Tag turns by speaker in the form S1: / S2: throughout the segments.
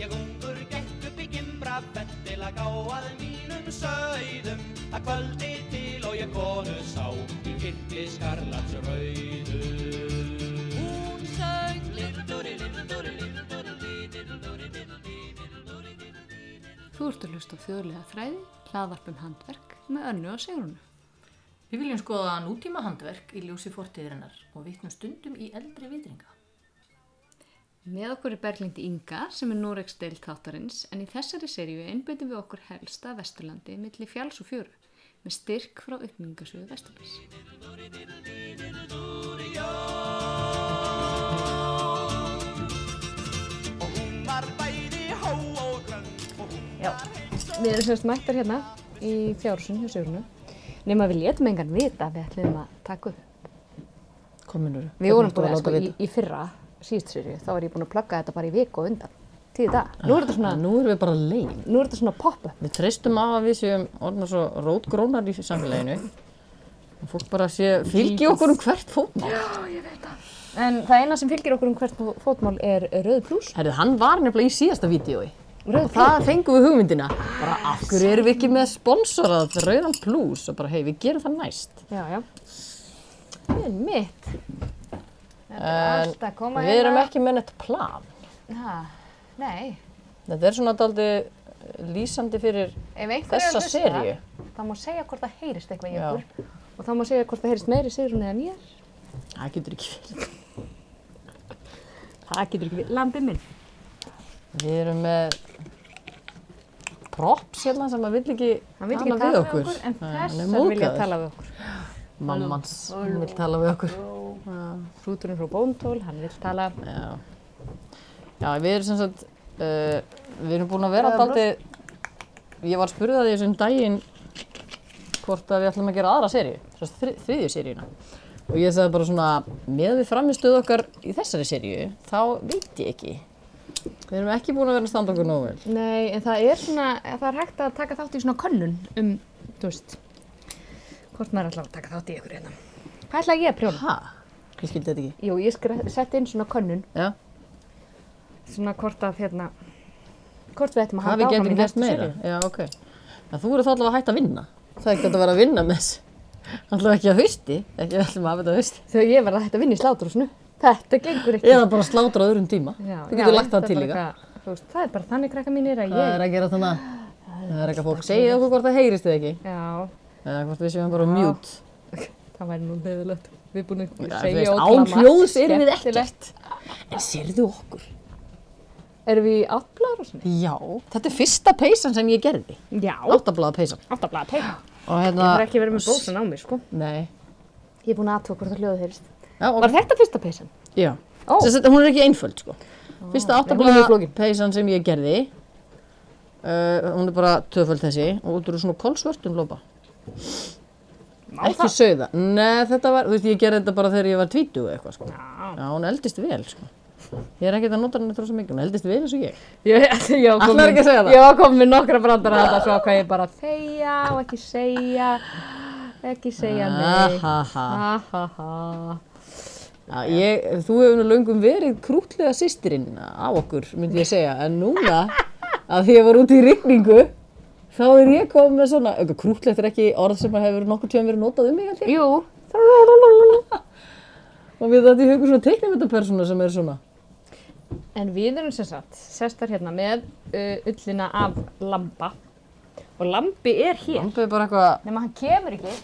S1: Ég ungur gekk upp í gimbra fett til að gá að mínum sögðum að kvöldi til og ég konu sá í kitli skarlats rauðu Hún sög Little-dúri, little-dúri, little-dúri, little-dúri, little-dúri, little-dúri, little-dúri
S2: Þú ert að hlusta á þjóðlega þræði, hlaðvarpum handverk með önnu og sigrunu.
S3: Við viljum skoða nútíma handverk í ljósi fortíðirinnar og vitnum stundum í eldri vitringa.
S2: Með okkur er Berglind Inga sem er Norex deil þáttarins en í þessari seríu einbyttum við okkur helsta Vesturlandi milli fjáls og fjöru með styrk frá uppmyngasöðu Vesturlands.
S1: Og hún var bæði hó og grönn og hún
S3: Já,
S2: Við erum semst mættar hérna í fjársun hjá sigrunu nema við létum engan vita að við ætlum að taka upp.
S4: Kominur.
S2: Við vorum búin að sko í, í fyrra síðust seríu þá var ég búin að plugga þetta bara í viku og undan. Tíði dag. Ah, Nú er þetta svona,
S4: Nú erum við bara leið.
S2: nú er þetta svona pop-up.
S4: Við treystum á að við séum orðna svo rótgrónar í samfélaginu. Og fólk bara sé, fylgi okkur um hvert fótmál.
S2: En það eina sem fylgir okkur um hvert fó- fótmál er rauð plús.
S4: Herðu, hann var nefnilega í síðasta vídjói.
S2: Rauð
S4: Og það fengum við hugmyndina. Bara af hverju erum við ekki með sponsorað Rauðan Plus og bara hei, við gerum það næst.
S2: Já, já. Það er mitt. Þetta er
S4: En
S2: allt að koma hérna.
S4: Við erum ekki með neitt plan.
S2: Ha, nei,
S4: Þetta er svona daldi lýsandi fyrir
S2: ef einhver
S4: þessa
S2: er að
S4: seríu.
S2: hlusta, þá má segja hvort það heyrist eitthvað í
S4: Já.
S2: okkur. Og þá má segja hvort það heyrist meiri Sigrun eða mér.
S4: Það getur ekki verið.
S2: Það getur ekki við. Lambi minn.
S4: Við erum með props hérna sem að vill ekki
S2: Hann vil ekki tala við okkur, en
S4: Nei, hann er
S2: þessar vilja
S4: móðgaður.
S2: tala við okkur.
S4: Mammans, hún vil tala við okkur.
S2: Hrúturinn frá Bóntól, hann vil tala.
S4: Já, Já við erum sem sagt, uh, við erum búin að vera daldi, ég var spurðið að því þessum daginn hvort að við ætlum að gera aðra seríu, sem sagt þri, þriðju seríuna. Og ég sagði bara svona, með við framistuð okkar í þessari seríu, þá veit ég ekki. Við erum ekki búin að vera að standa okkur nógu vel.
S2: Nei, en það er svona, það er hægt að taka þátt í svona könnun um, þú veist, hvort maður ætlar að taka þátt í ykkur hérna. Hvað ætla ég að prjóna?
S4: Ha? Ég skildi þetta ekki.
S2: Jú, ég skra- setti inn svona könnun
S4: Já,
S2: svona hvort að hérna hvort við ættum að
S4: hvað
S2: halda
S4: við
S2: áfram í
S4: getum gert
S2: næstu
S4: meira.
S2: seríu
S4: Já, ok. En þú eru þá allavega hægt að vinna. Það er ekki hægt að vera að vinna með þessu. Allavega ekki að hausti, ekki að við ætlum að hafa þetta að hausti.
S2: þegar ég verða hægt að vinna í sláturhúsinu þetta gengur ekki
S4: Eða bara slátra á öðrum tíma.
S2: Já,
S4: þú getur
S2: já,
S4: lagt það
S2: er
S4: til
S2: bara
S4: líka.
S2: eitthvað, þú veist, það er bara þannig krakka mínir að
S4: Það
S2: ég
S4: er að gera þannig að það er eitthvað fólk. Segið okkur hvort það heyrist eða ekki.
S2: já,
S4: Eða hvort við séum bara mjút.
S2: það væri nú leðilegt við erum búin að
S4: Já, þú
S2: segja
S4: veist,
S2: ótrúlega
S4: án
S2: margt
S4: hljóðs erum við
S2: skemmtilegt.
S4: ekkert. En sérðu okkur?
S2: erum við í áttblaðarhúsinu?
S4: Já. Þetta er fyrsta peysan sem ég gerði.
S2: já,
S4: Áttablaða peysan.
S2: áttblaðar það
S4: Og hérna...
S2: er ekki verið með bósan á mig sko
S4: Nei.
S2: ég er búin að aðtöku hvort það hljóðu heyrist
S4: Já, ok.
S2: var þetta fyrsta peysan?
S4: Já.
S2: Ó.
S4: Sess, hún er ekki einföld, sko.
S2: Nei, hún
S4: Fyrsta
S2: er mjög
S4: áttablaða
S2: flókin.
S4: peysan sem ég gerði, uh, hún er bara töföld þessi og út eru svona kolsvörtum lópa.
S2: Má
S4: Ekki
S2: það?
S4: sauða. Nei, þetta var, þú veist, ég gerði þetta bara þegar ég var tvítuð eitthvað, sko.
S2: Já.
S4: Já, hún eldist vel, sko. Ég er ekkert að nota henni þrósa mikið, hún eldist vel eins og ég.
S2: Ég, ég var
S4: Ætlarðu ekki að segja
S2: komin,
S4: það?
S2: ég var komin með nokkra brandar að þetta svo hvað ég bara þegja og ekki segja, ekki segja nei.
S4: ha, ha.
S2: Ha ha ha.
S4: Já, ég, þú hefur nú löngum verið krútlega sýstirinn á okkur, myndi ég segja, en núna, að því ég var úti í rigningu, þá er ég komið með svona, auðvitað krútlegt er ekki orð sem að hefur nokkur tjóðum verið notað um mig, held ég.
S2: Jú,
S4: Og við þetta í hugur svona teiknumöndapersona sem er svona.
S2: en við erum sem sagt sestar hérna með uh, ullina af lamba og lambi er hér.
S4: Lambið er bara eitthvað,
S2: Nefn að hann kemur ekki,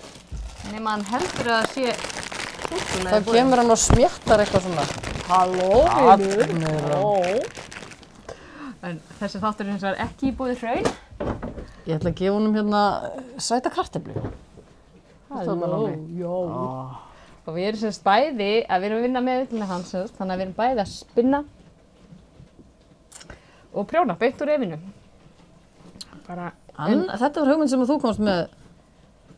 S2: nefn að hann heldur að það sé útlulega.
S4: það kemur hann og smjattar eitthvað svona.
S2: Halló, vinur.
S4: Atmur og-
S2: Halló. En þessi þáttur er hins vegar ekki í búið hraun.
S4: Ég ætla að gefa honum hérna sæta karteflu. Halló.
S2: já. Og við erum semst bæði, að við erum að vinna með ullina hans, semst, þannig að við erum bæði að spinna og prjóna beint úr efinu. Bara,
S4: Hann, þetta var hugmynd sem að þú komst með,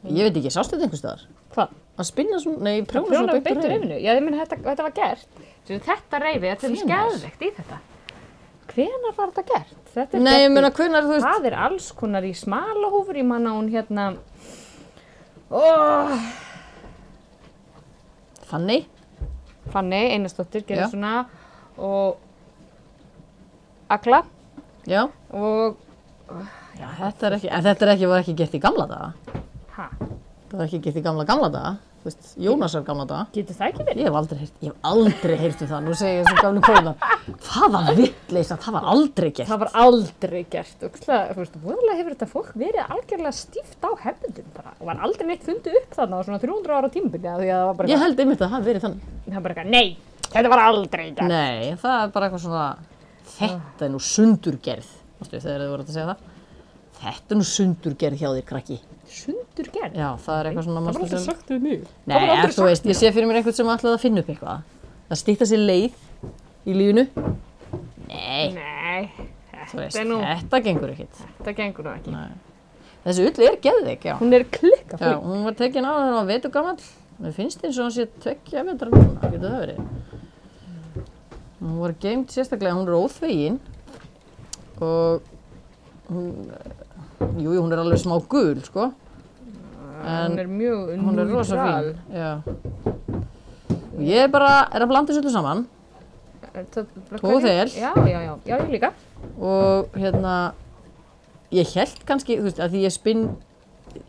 S4: ég veit ekki, sástu þetta einhvers staðar?
S2: hvað?
S4: Að spinna svona, nei, prjóna
S2: Prjóna
S4: svona
S2: beint úr efinu? Já, ég minna, þetta, þetta var gert. Svo þetta reyfi, þetta er
S4: Hvenær?
S2: skæðvegt í þetta. Hvenær var þetta gert? Þetta er
S4: Nei, ég
S2: gert í-
S4: meina, hvernig þú veist,
S2: Það er alls konar í smalahúfur, ég manna hún hérna, oh,
S4: Fanny,
S2: Fanny Einarsdóttir gerir
S4: Já.
S2: svona og Agla
S4: Já,
S2: og
S4: já þetta er ekki, en þetta er ekki, var ekki gett í gamla daga.
S2: ha,
S4: Það var ekki gett í gamla gamla daga, þú veist, Jónasar gamla daga.
S2: getur það ekki verið?
S4: Ég hef aldrei heyrt, ég hef aldrei heyrt um það, nú segir ég þessum gamlu kóðunar. Það var vitleisa, það var aldrei gert.
S2: Það var aldrei gert og þú veist, voðalega hefur þetta fólk verið algjörlega stíft á hefndum bara og var aldrei neitt fundið upp þarna á svona 300 ára tímbili að því að það var bara,
S4: Ég held einmitt að það hafi verið
S2: eitthvað-
S4: þannig.
S2: það var bara eitthvað, nei, þetta var aldrei gert.
S4: Nei, það er bara eitthvað svona, þetta er nú sundurgerð, varstu, þegar þið voru að segja það. Þetta er nú sundurgerð hjá þér, krakki.
S2: Sundur gert?
S4: Já, það er eitthvað svona,
S2: það var
S4: manstu,
S2: aldrei
S4: sem-
S2: sagt við mig.
S4: Nei, en þú veist, ég sé fyrir mér einhvern sem ætlaði að finna upp eitthvað. Það stýtta sér leið í lífinu. Nei,
S2: Nei,
S4: þú veist, eh.
S2: þetta er nú,
S4: þetta gengur ekkert.
S2: þetta gengur nú ekki.
S4: Þessi ull er geðveik, já.
S2: Hún er klikka
S4: Já,
S2: fyrir.
S4: hún var tekin á þegar hún var vetur gammal. Mér finnst eins og hún sé tveggja vetra núna, getur það verið. Hún var geimt sérstaklega, hún er óþvegin og hún, jújú, hún er alveg smá gul, sko. En
S2: Hún er mjög
S4: Hún er rosa
S2: neutral.
S4: fín. Já. Og Ég bara er að blanda þessu öllu saman
S2: Er Eh, það- bara
S4: Þú og
S2: hvernig-
S4: þér.
S2: Já, já, já, já, ég líka.
S4: og hérna, ég held kannski, þú veist, að því ég spinn,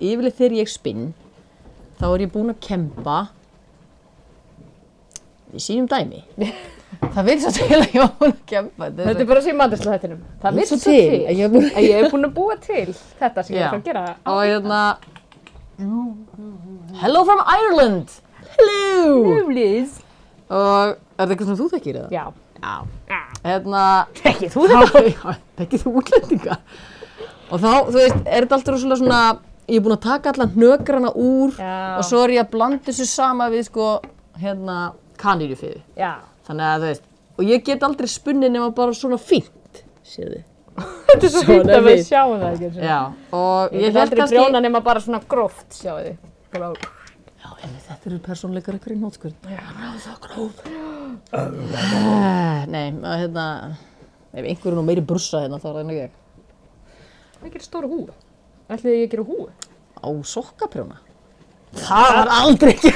S4: yfirleitt þegar ég spinn, þá er ég búin að kempa við sínum dæmi. það virðist að til að ég var búin að kempa.
S2: Þetta er bara sem mandarsla þettinum. Það
S4: Eins
S2: virðist
S4: og
S2: svo
S4: til,
S2: til.
S4: að ég er búin-
S2: að ég er búin að búa til þetta sem ég
S4: Já.
S2: ætla að gera.
S4: Og hérna, hello from Ireland! Hello!
S2: Ljúflís.
S4: Og er þetta eitthvað sem þú þekkir eða?
S2: Já.
S4: Já.
S2: Já.
S4: Hérna,
S2: Ekki þú þetta.
S4: Já, ekki þú útlendinga og þá, þú veist, er þetta alltaf rosalega svona ég er búin að taka allan hnökrana úr
S2: Já.
S4: og svo er ég að blanda þessu sama við sko, hérna, kanýrjufiðu
S2: Já.
S4: þannig að, þú veist, og ég get aldrei spunnið nema bara svona fínt séðu,
S2: Þetta er svo fínt að við
S4: við.
S2: sjáum það ekki. eins og-
S4: já og
S2: Ég get
S4: ég held
S2: aldrei
S4: kannski
S2: brjóna nema bara svona gróft, sjáu þið. Bara-
S4: já, en þetta eru persónleikar ykkur í nótskurð já, það gróf nei, að, hérna ef einhverjum nú meiri brussa hérna þá er það nú ég
S2: Hvað gerir stóra húu? Ætliði ég að gera húu?
S4: á sokkaprjóna það var aldrei ekki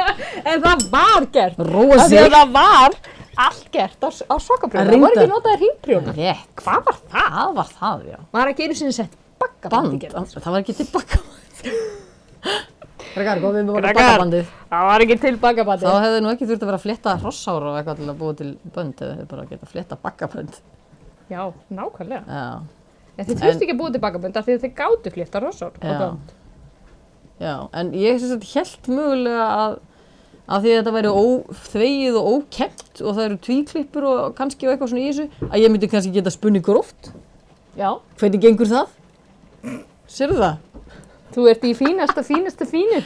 S2: En það var gert.
S4: Róa
S2: Af því
S4: sig.
S2: að það var allt gert á, á sokkaprjónu. Það var
S4: Reyndar.
S2: ekki notaðir hringprjónu.
S4: Rétt.
S2: Hvað var það?
S4: Það var það, já.
S2: Var ekki einu sinni sett bakkabandi
S4: Band.
S2: gert.
S4: Það var ekki tilbaka. Krakkar, komið með bara
S2: Krakkar.
S4: bakkabandið.
S2: Það var ekki til
S4: Þá
S2: bakkabandi.
S4: hefðu nú ekki þurft að vera að flétta hrossára og eitthvað til að búa til bönd eða hefðu bara að geta flétta bakkabönd.
S2: Já, nákvæmlega.
S4: Já,
S2: En þið þurfti ekki að búa til bakkabönd af því að þið gáttu flétta rossor og
S4: Já.
S2: bönd.
S4: já. En ég sem sagt held mögulega að að því að þetta væri óþvegið og ókempt og það eru tvíklippur og kannski og eitthvað svona í þessu, að ég myndi kannski geta spunni gróft.
S2: Já.
S4: Hvernig gengur það? Sérðu það?
S2: Þú ert í fínasta, fínasta fínu.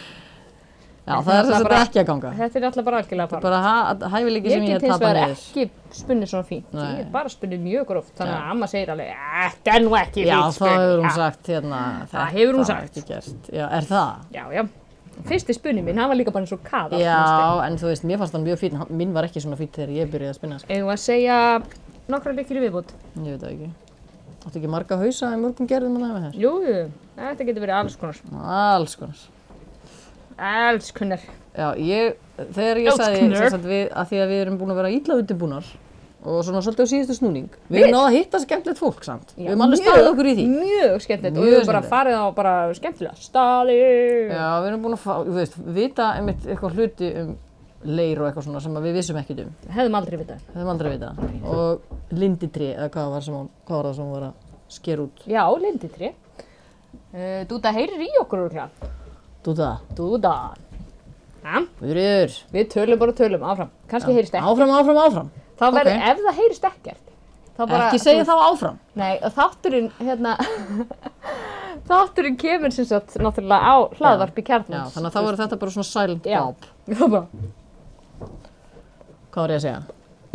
S4: Já, það er sem
S2: náttúrulega
S4: sagt
S2: bara-
S4: ekki að ganga.
S2: Þetta er alltaf bara algjörlega bara.
S4: Bara hæ- hæfileiki
S2: Ég
S4: sem ég
S2: get
S4: hef
S2: hins
S4: tapað
S2: vegar
S4: niður.
S2: ekki spunnið svona fínt.
S4: Nei.
S2: Ég hef bara spunnið mjög gróft. Þannig
S4: Já.
S2: að amma segir alveg, þetta er nú ekki
S4: Já,
S2: fínt
S4: það
S2: spunnið."
S4: hefur hún
S2: sko. Já.
S4: sagt hérna.
S2: Það hefur hún
S4: þetta er
S2: sagt.
S4: Ekki gert. Já, er það?
S2: Já, já. Fyrsti spunnið minn, hann var líka bara eins og kaða.
S4: Já, en þú veist, mér fannst hann mjög fín. Hann- Minn var ekki svona fín þegar ég byrjaði að spinna. Sko.
S2: Eða að segja nokkra leikir í viðbútt.
S4: Ég veit það ekki. Áttu ekki marga hausa í mörgum gerðum að með þér?
S2: Jú, jú, þetta getur verið alls konar.
S4: Alls konar.
S2: Alls konar.
S4: Já, ég, þegar ég
S2: Alls
S4: sagði,
S2: konar.
S4: sem sagt, við, að því að við erum búin að vera ítla undirbúnar og svona svolítið á síðustu snúning. Við erum náða að hitta skemmtilegt fólk samt. við erum alveg staðið okkur í því.
S2: Mjög skemmtilegt og
S4: Mjög
S2: við höfum bara
S4: skemmtilegt.
S2: farið á bara skemmtilega staði.
S4: Já, við erum búin að fá, þú veist, vita einmitt eitthvað hluti um leir og eitthvað svona sem að við vissum ekkert um.
S2: Hefðum aldrei vitað.
S4: Það er aldrei að vita. Og linditri, eða hvað var, sem, hún- hvað var það sem hún var að sker út?
S2: Já, linditri. Uh, Dúta heyrir í okkur úr hérna.
S4: Dúta,
S2: Dúta. Ja,
S4: Guðriður,
S2: við tölum bara tölum áfram. Kanski heyrist ekki.
S4: áfram, áfram, áfram.
S2: Þá verður,
S4: ok.
S2: ef það heyrist ekkert, þá bara...
S4: Ekki segja þá áfram.
S2: Nei, og þátturinn, hérna... þátturinn kemur sem sagt náttúrulega á hlaðvarpi
S4: Já,
S2: kjarnans.
S4: þannig að þá er þetta bara svona silent
S2: Já.
S4: bob.
S2: Það bara...
S4: Hvað var ég að segja?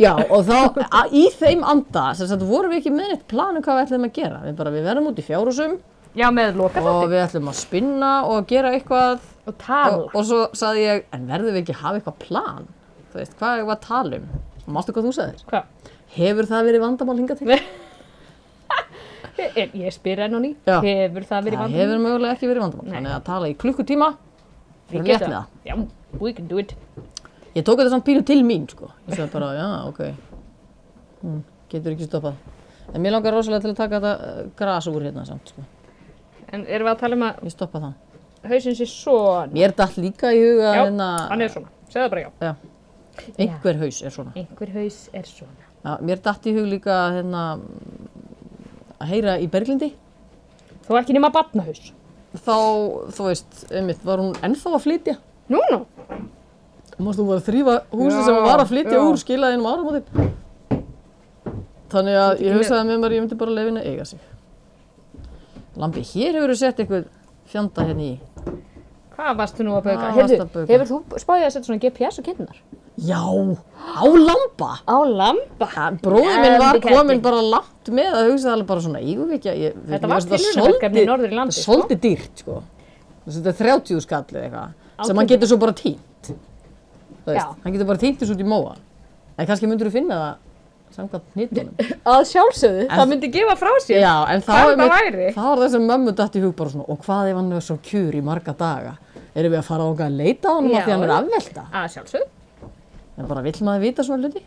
S4: Já, og þá, a- í þeim anda, sem sagt, vorum við ekki með neitt planu hvað við ætlum að gera. Við bara, við verðum út í fjárhúsum
S2: Já, með loka
S4: og við ætlum að spinna og gera eitthvað.
S2: og tala.
S4: Og, og svo sagði ég, en verðum við ekki að hafa eitthvað plan? Þú veist, hvað er að tala um? Og mástu hvað þú sagðir?
S2: Hvað?
S4: Hefur það verið vandamál hingað til?
S2: Ég, ég spyr enn og ný.
S4: Já.
S2: Hefur það verið
S4: Það
S2: vandamál?
S4: hefur mögulega ekki verið vandamál.
S2: Nei.
S4: Þannig að tala í klukkutíma,
S2: Við
S4: fyrir létt
S2: getum
S4: með það.
S2: það. Já, we can do it.
S4: Ég tók þetta samt pínu til mín, sko. Ég sagði bara, já, ok. Hún Hm, getur ekki stoppað. En mér langar rosalega til að taka þetta eh, gras úr hérna samt, sko.
S2: En erum við að tala um að
S4: Ég stoppa það.
S2: hausinn sé svona?
S4: Mér datt líka í huga
S2: Já,
S4: hérna,
S2: hann er svona. Segðu það bara já.
S4: Já, einhver haus er svona.
S2: Einhver haus er svona.
S4: Já, mér datt í hug líka hérna, að heyra í Berglindi.
S2: Þú ekki nema batnahaus.
S4: Þá, þú veist, einmitt, var hún ennþá að flytja.
S2: Nú, nú.
S4: Þú mást þú var að þrýfa húsið
S2: Já,
S4: sem hún var að flytja
S2: já.
S4: úr skilaði einum áramótið. Þannig að ég hugsaði með mér að ég myndi bara lefin að eiga sig. Lambi, hér hefur þú sett eitthvað fjanda hérna í.
S2: Hvað varstu nú að bauka?
S4: Hvað
S2: Heyrðu,
S4: varstu að bauka?
S2: hefur þú spáðið að setja svona GPS og kinnar?
S4: Já, á lamba!
S2: Á lamba?
S4: Bróðið minn var
S2: Lambi ketti.
S4: kominn bara langt með að hugsa alveg bara svona, ég veit ekki að ég...
S2: Þetta
S4: mér
S2: var
S4: finnst þetta
S2: tilraunaverkefni í
S4: svolítið-
S2: Norðurlandi,
S4: þetta er
S2: sko.
S4: Svolítið dýrt, sko. Þess að þetta er 30 skall eða eitthvað, sem hann
S2: Átján.
S4: getur svo bara týnt. Þú
S2: Já.
S4: veist, hann getur bara týnt þessu út í móa. En kannski myndur þú finna það samkvæmt hnýttunum.
S2: Að sjálfsögðu,
S4: En-
S2: það myndi gefa frá sér.
S4: Já, en þá
S2: Þarna
S4: er mitt-
S2: væri.
S4: þá var það sem mömmu dætt í hug bara svona, og hvað ef hann er svo kjur í marga daga? Erum við að fara á að leita á hann
S2: Já.
S4: af því hann er afvelta?
S2: Að sjálfsögðu?
S4: En bara vill maður vita svona hluti?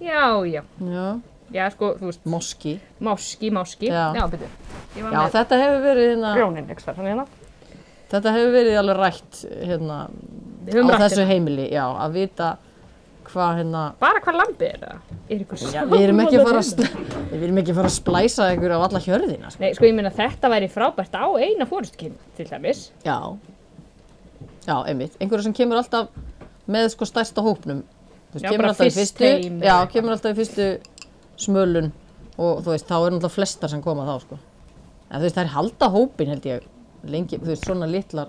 S2: Já, já.
S4: Já,
S2: Já, sko, þú veist,
S4: moski.
S2: máski, máski.
S4: Já.
S2: já byrju. Ég var
S4: Já,
S2: með
S4: þetta hefur verið hérna...
S2: grjónin, ekki svar, hann hérna.
S4: Þetta hefur verið alveg rætt hérna,
S2: Við höfum
S4: á
S2: rætt hérna.
S4: þessu heimili, já, að vita hvað hérna,
S2: Bara hvað lambið er það? Er ykkur
S4: já,
S2: saman
S4: við erum ekki
S2: að
S4: að fara að,
S2: finna?
S4: sl- við erum ekki að fara að splæsa ykkur af alla hjörðina, sko.
S2: Nei, sko, ég meina þetta væri frábært á eina fórustkinn, til dæmis.
S4: Já, já, einmitt, einhverju sem kemur alltaf með sko stærsta hópnum, þú veist,
S2: Já,
S4: kemur
S2: bara
S4: alltaf í
S2: fyrst
S4: fyrstu,
S2: heim
S4: já,
S2: eða eitthvað.
S4: kemur alltaf í fyrstu smölun og þú veist, þá eru náttúrulega flestar sem koma þá, sko. En þú veist, það er halda hópin, held ég, lengi, þú veist, svona litlar,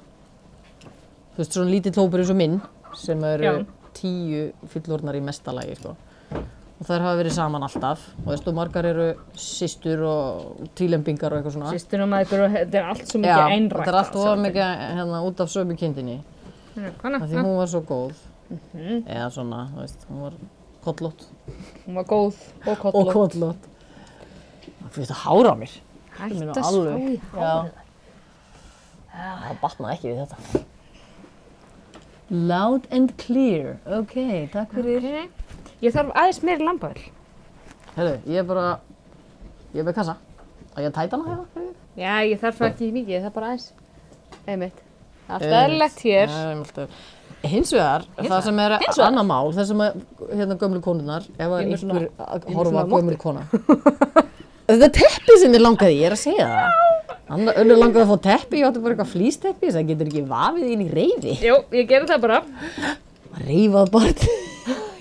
S4: þú veist, svona lítill hópur eins og minn, sem eru
S2: Já.
S4: tíu fullornar í mesta lagi, sko. Og þær hafa verið saman alltaf, og þú veist, og margar eru systur og tílembingar og eitthvað svona.
S2: Sýstunum að ykkur, og þetta er allt svo
S4: Já,
S2: mikið
S4: og
S2: einrætt.
S4: þetta er allt of mikið hérna, út af sömu kindinni, af því
S2: Hvaðna?
S4: hún var Mhm. svo góð, eða svona, þú veist, hún var kollótt.
S2: Hún var góð og
S4: Og
S2: kollótt.
S4: kollótt. Þú veist, að hára á mér.
S2: Hætt
S4: Mér
S2: að spá í
S4: alveg- Já. Það batnaði ekki við þetta. Loud and clear, ok, takk fyrir.
S2: Ég þarf aðeins meiri lambavel.
S4: Herru, ég er bara, ég er með kassa. Á ég að tæta hana hérna? fyrir þig?
S2: Já, ég þarf það ekki mikið, það er bara aðeins. Einmitt. Allt
S4: Einmitt.
S2: eðlilegt hér.
S4: Nei, um alltaf. Hins vegar, það sem er annað mál, það sem er hérna gömlu konunnar, ef að
S2: Ég er svona-
S4: einhver að
S2: er
S4: horfa
S2: svona
S4: á
S2: á
S4: gömlu kona. Þetta er teppi sem ég langaði, ég er að segja það. Anna önnur langaði að fá teppi, ég átti bara eitthvað flýsteppi, það getur ekki vafið inn í reyfi.
S2: Jú, ég gerði það bara.
S4: Reyfað bara.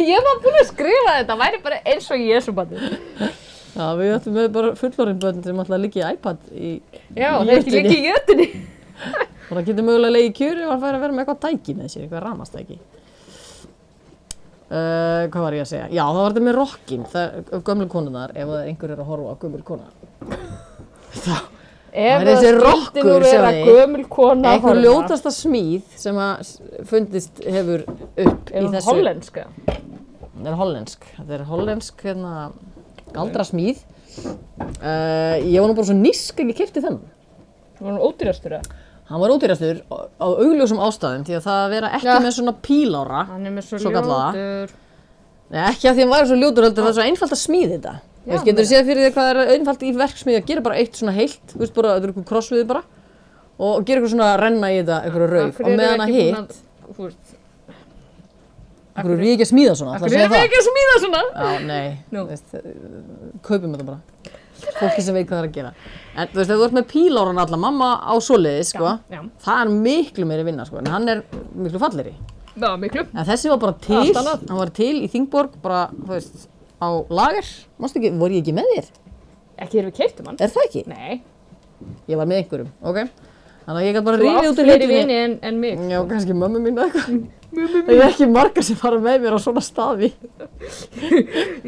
S2: Ég var búin að skrifa þetta, væri bara eins og ég sem bæti.
S4: Já, við ættum með bara fullorinn börn sem ætla að liggja í iPad í...
S2: Já,
S4: Í
S2: það er ekki
S4: jötunni.
S2: líka í jötunni.
S4: Og það getur mögulega leiði kjöri og hann fær að vera með eitthvað tæki með sér, eitthvað ramastæki. Uh, hvað var ég að segja? Já, það var þetta með rockin, það, gömlu konunar, ef það er einhver er að horfa á gömlu konunar. Þá,
S2: Ef
S4: Það er þessi
S2: skyldi nú
S4: rokkur,
S2: vera
S4: sjáðu.
S2: gömul kona að
S4: einhver
S2: horfa.
S4: ljótasta smíð sem að s- fundist hefur upp
S2: Er
S4: í
S2: hún
S4: þessu.
S2: hollenska?
S4: Hún er hollensk. Þetta er hollensk, hérna, galdra smíð. Uh, ég var nú bara svo nísk að ég kefti þennan.
S2: Var hún ódýrastur það?
S4: Hann var ódýrastur á, á augljósum ástæðum því að það að vera ekki
S2: Já.
S4: með svona pílára,
S2: Hann er með svo,
S4: Svo kallaða.
S2: ljótur.
S4: Nei, ekki að því hann væri svo ljótur heldur, það er svo einfalt að smíði þetta. Þú veist, getur þú séð fyrir því hvað er einfalt í verksmiði að gera bara eitt svona heilt, þú veist bara, þetta er eitthvað krossviði bara, og gera eitthvað svona að renna í þetta, eitthvað
S2: Af
S4: rauk,
S2: hverju
S4: og
S2: erum við
S4: meðan að
S2: ekki búin
S4: hitt,
S2: að- þú veist,
S4: eitthvað er við ekki að smíða svona,
S2: af
S4: ætla að
S2: hverju
S4: segja
S2: erum við
S4: það.
S2: ekki að smíða svona?
S4: Já, nei,
S2: Nú.
S4: þú veist, eh, kaupum þetta bara, fólki sem veit hvað það er að gera. En þú veist, ef þú ert með píláran alla, mamma á svoleiði, sko,
S2: já.
S4: það er miklu meiri vinna, sko, en hann er miklu falleri.
S2: Já, miklu.
S4: En þessi var bara til,
S2: Allt annað.
S4: hann var til í Þingborg, bara, þú veist, á lager, mástu ekki, voru ég ekki með þér?
S2: Ekki erum við keiptum hann.
S4: Er það ekki?
S2: Nei.
S4: Ég var með einhverjum, ok? Þannig að ég gæti bara
S2: Þú
S4: rífið
S2: átt
S4: út úr
S2: fleiri
S4: hlutinni.
S2: vini en, en mig.
S4: Já, kannski mömmu mín eða eitthvað. Það er ekki margar sem fara með mér á svona staði.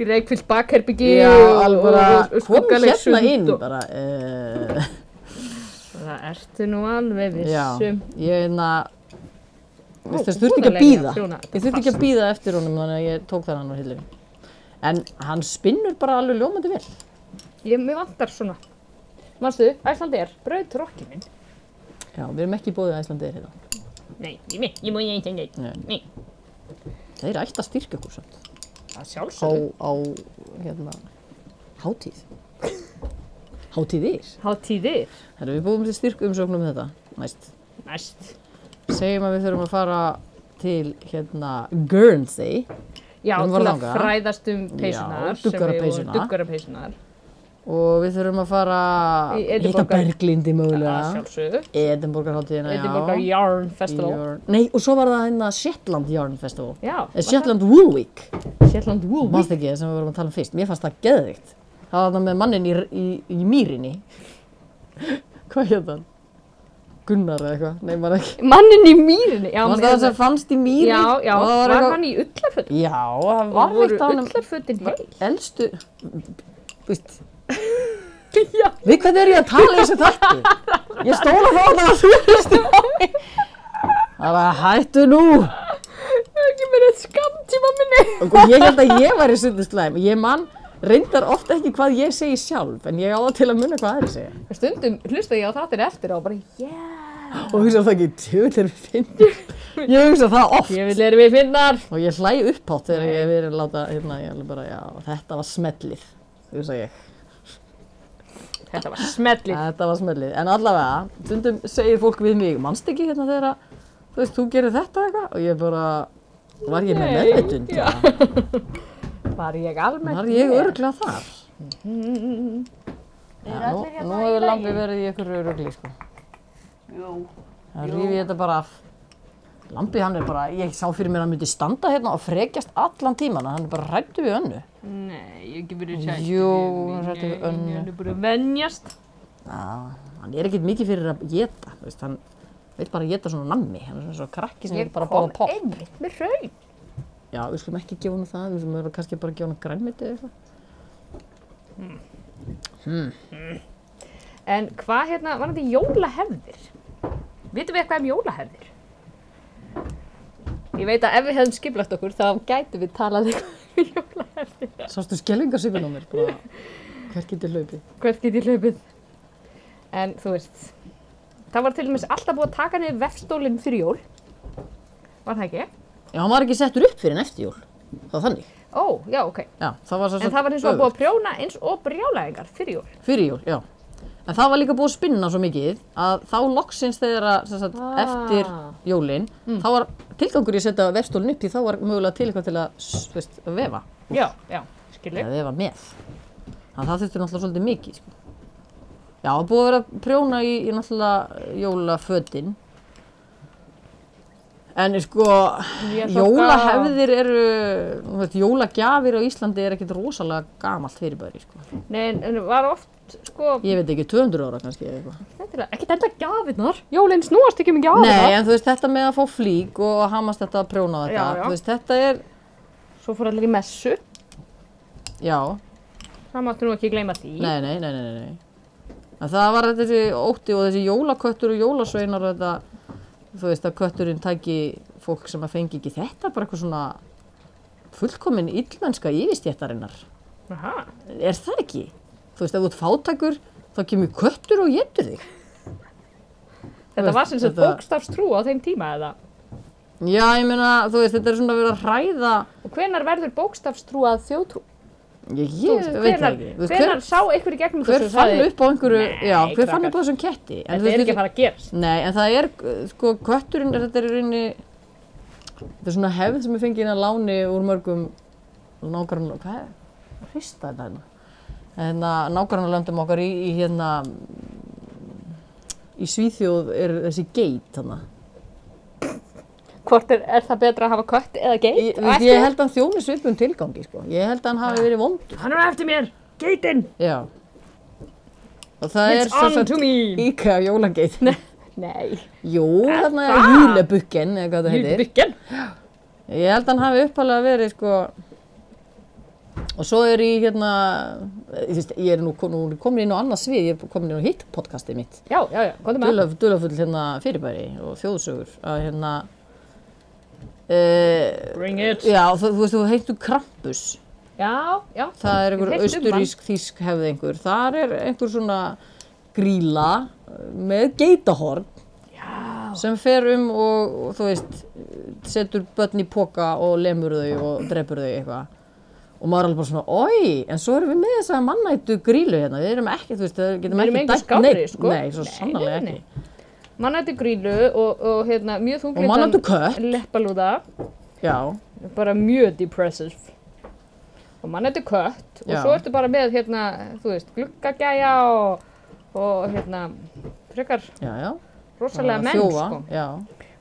S2: Í reikfyllt bakherbyggi
S4: Já, alveg bara, kom
S2: skuggaleg
S4: hérna
S2: sund
S4: inn
S2: og-
S4: bara. Uh,
S2: Það ertu nú alveg um-
S4: já,
S2: vissum.
S4: ég hérna, þú
S2: Ó,
S4: veist, þurfti ekki að
S2: voðalega
S4: býða.
S2: prjóna.
S4: Ég þurfti ekki að býða eftir honum, þannig að ég tók þennan á hillinu. En hann spinnur bara alveg ljómandi vel.
S2: Ég, mér vantar svona. Manstu, Æslandi er braut rokkinin.
S4: Já, við erum ekki bóðið æslandið hérna.
S2: Nei, ég mér, ég múi ekki neitt.
S4: Nei.
S2: Nei.
S4: Þeir ætti að styrka okkur samt.
S2: Það
S4: Á,
S2: sjálfsögðu.
S4: á, hérna, hátíð. Hátíðir.
S2: Hátíðir.
S4: Herru, við búum til styrk umsóknum þetta, næst.
S2: Næst.
S4: Segjum að við þurfum að fara til, hérna, Guernsey
S2: Já,
S4: Við erum
S2: til
S4: að
S2: að
S4: langa.
S2: fræðast um peysunar. sem
S4: duggara
S2: við vorum-
S4: peysuna.
S2: Duggara peysunar.
S4: og við þurfum að
S2: Í
S4: fara að hitta
S2: Edinborgar.
S4: Berglindi
S2: Að
S4: mögulega.
S2: sjálfsögðu.
S4: Edinborgarháttíðina, já.
S2: Edinborgar Yarn
S4: Í
S2: Festival.
S4: Jörn- Nei, og svo var það hérna Shetland Yarn Festival.
S2: Já.
S4: Eh, Shetland Wool Week.
S2: Shetland Wool.
S4: Mást ekki það sem við vorum að tala um fyrst. Mér fannst það geðvikt. Það var það með mannin í, í, í mýrinni. Hvað hétt hann? Gunnar eða eitthvað? Nei, maður ekki.
S2: Mannin í mýrinni. Já,
S4: Það var
S2: mér-
S4: það sem fannst í mýri.
S2: hérna. já, já.
S4: Og það
S2: Var,
S4: eitthvað-
S2: hann í ullarfötum?
S4: Já, það var
S2: Var
S4: veikt
S2: voru
S4: á hann. um
S2: ullarfötin heil?
S4: Elstu, þú veist,
S2: Já.
S4: við hvernig er ég að tala í þessu þætti? Ég stóla þá að það að þú veist á mig. Það var hættu nú.
S2: Ekki með þetta skamtíma minni.
S4: Og ég held að ég væri svolítið slæm. Ég man reyndar oft ekki hvað ég segi sjálf, en ég á það til að munna hvað aðri segja.
S2: Stundum hlusta ég á þáttir eftir á og bara, yeah.
S4: Og hugsa það ekki, tjóðil er við finnir. Ég hugsa það oft.
S2: Ég vil eru við finnar.
S4: Og ég hlæ upphátt þegar ég hef verið að láta, hérna, ég held bara, já, þetta var smellið, hugsa ég.
S2: Þetta var smellið.
S4: Þetta var smellið. En allavega, stundum segir fólk við mig, mannst ekki hérna þegar að, þú veist, þú gerir þetta eitthvað? Og ég bara, var ég með
S2: Nei,
S4: meðvitund?
S2: já.
S4: eða?
S2: Var ég almennt
S4: Var ég
S2: með?
S4: örglega þar? Já, nú, nú hefur lambi verið hérna í ykkur örugli, sko.
S3: Jú.
S4: Það rífi ég þetta bara af. Lambi, hann er bara, ég sá fyrir mér að hann myndi standa hérna og frekjast allan tíman, hann er bara rættu við önnu.
S2: Nei, ég hef ekki verið sætt.
S4: Jú, hann rættu við önnu.
S2: Hann er búin að venjast.
S4: Já, hann er ekkert mikið fyrir að geta, þú veist, hann vil bara geta svona nammi, hann er svona svona krakki sem vil bara bóða popp.
S2: einmitt með raun.
S4: Já, við skulum ekki gefa hann það, við skulum kannski bara gefa hann grænmiti eða eitthvað.
S2: En hvað hérna, var þetta jólahefðir? Vitum við eitthvað um jólahefðir? Ég veit að ef við hefðum skiplagt okkur, þá gætum við talað eitthvað um jólahefðir.
S4: Sástu skellingarsipin á mér, bara, hver getur hlaupið?
S2: Hvert get ég hlaupið? En þú veist, það var til dæmis alltaf búið að taka niður vefstólinn fyrir jól. Var það ekki?
S4: Já, hann var ekki settur upp fyrir en eftir jól, það var þannig.
S2: Ó, já, ok.
S4: Já, það var svo
S2: En það var eins og að búið að prjóna eins og brjálæðingar fyrir jól.
S4: Fyrir jól, já. En það var líka búið að spinna svo mikið að þá loksins þegar að, sem sagt,
S2: Ah. Mm.
S4: eftir jólinn, þá var tilgangur í að setja vefstólinn upp því þá var mögulega til eitthvað til að, s- þú veist, að vefa.
S2: Já, já, skilur.
S4: eða ef að með. Þannig að það þurfti náttúrulega svolítið mikið. Sko. Já, það er búið að vera að prjóna í, í náttúrulega jólafötin. En sko,
S2: Ég þakka-
S4: jólahefðir eru, þú veist, jólagjafir á Íslandi er ekkert rosalega gamalt fyrirbæri, sko.
S2: Nei, en- en var oft, sko,
S4: Ég veit ekki, 200 ára kannski eða eitthvað.
S2: þetta er ekkert enda gjafinnar. Jólinn snúast
S4: um
S2: ekki mikið á
S4: Nei, en þú veist, þetta með að fá flík og að hamast þetta að prjóna þetta,
S2: Já, já.
S4: þú veist, þetta er,
S2: Svo fór allir í messu.
S4: já,
S2: Það máttu nú ekki gleyma því.
S4: nei, nei, nei, nei, nei. En það var þessi ótti og þessi jólaköttur og jólasveinar og þetta, þú veist að kötturinn tæki fólk sem að fengi ekki þetta, bara eitthvað svona fullkomin illmennska yfirstjættarinnar.
S2: Aha.
S4: Er það ekki? Þú veist, ef þú ert fátækur, þá kemur köttur og getur þig.
S2: Þetta
S4: veist,
S2: var sem sagt
S4: þetta-
S2: bókstafstrú á þeim tíma eða?
S4: Já, ég meina, þú veist, þetta er svona að vera að hræða,
S2: Og hvenar verður bókstafstrú að þjóðtrú?
S4: ég,
S2: Þú
S4: ég
S2: veist,
S4: veit
S2: hvenar-
S4: það ekki. Þú veist,
S2: Hvenar sá einhver í gegnum
S4: hver, hver
S2: og
S4: fann
S2: sagði,
S4: upp á einhverju,
S2: Nei,
S4: já, hver fann
S2: krakkar.
S4: upp á þessum ketti? En þú
S2: Þetta er
S4: veist,
S2: ekki að fara að gerast.
S4: Nei, en það er, uh, sko, kötturinn, er- þetta er í rauninni, þetta er svona hefð sem er fengið inn að láni úr mörgum nákvæmlega, hvað er, hrista þetta hérna? Hérna, nákvæmlega löndum okkar í, í hérna, mm, í Svíþjóð er þessi geit þarna.
S2: Hvort er, er það betra að hafa kött eða
S4: Ég,
S2: geit? á
S4: við-
S2: eftir Ah.
S4: ég
S2: þér?
S4: held að hann þjóni svipum tilgangi, sko. Ég held að hann hafi verið vondur.
S2: Hann er á eftir mér! Geitinn!
S4: Já. Og það er
S2: It's
S4: sem
S2: on
S4: sagt
S2: to me!
S4: líka jólageit.
S2: Nei,
S4: Jú, þarna er
S2: það?
S4: júlebukken, eða hvað það heitir.
S2: hýtbyggjan!
S4: Ég held að hann hafi uppalega verið sko og svo er ég hérna ég, veist, ég er nú kom- nú er ég komin inn á annað svið, ég er komin inn á hitt podcastið mitt
S2: Já, já, já, komdu með.
S4: dulafull dulaf, hérna fyrirbæri og þjóðsögur að hérna e,
S2: Bring it!
S4: já þú, þú veist þú heitum Krampus
S2: Já, já.
S4: það er
S2: Ég hef
S4: einhver
S2: heyrt um hann.
S4: austurísk þýsk hefð einhver þar er einhver svona gríla með geitahorn Já. sem fer um og, og þú veist setur börn í poka og lemur þau og drepur þau eitthvað og maður er alveg bara svona, oi, en svo erum við með þessa mannættu grílu hérna, við erum ekki, þú veist, við getum
S2: Við erum
S4: ekki
S2: engin skárri,
S4: neinn.
S2: sko.
S4: Nei, svo
S2: Nei,
S4: sannarlega
S2: nei, nei.
S4: ekki.
S2: Mannættu grílu og, og hérna, mjög
S4: Og mannættu kött,
S2: þunglítan leppalúða,
S4: já,
S2: bara mjög depressive. Og mannættu kött og
S4: Já.
S2: svo ertu bara með hérna, þú veist, gluggagæja og, og hérna, frekar
S4: já, já.
S2: rosalega
S4: Bara
S2: menn,
S4: þjófa,
S2: sko.
S4: Já,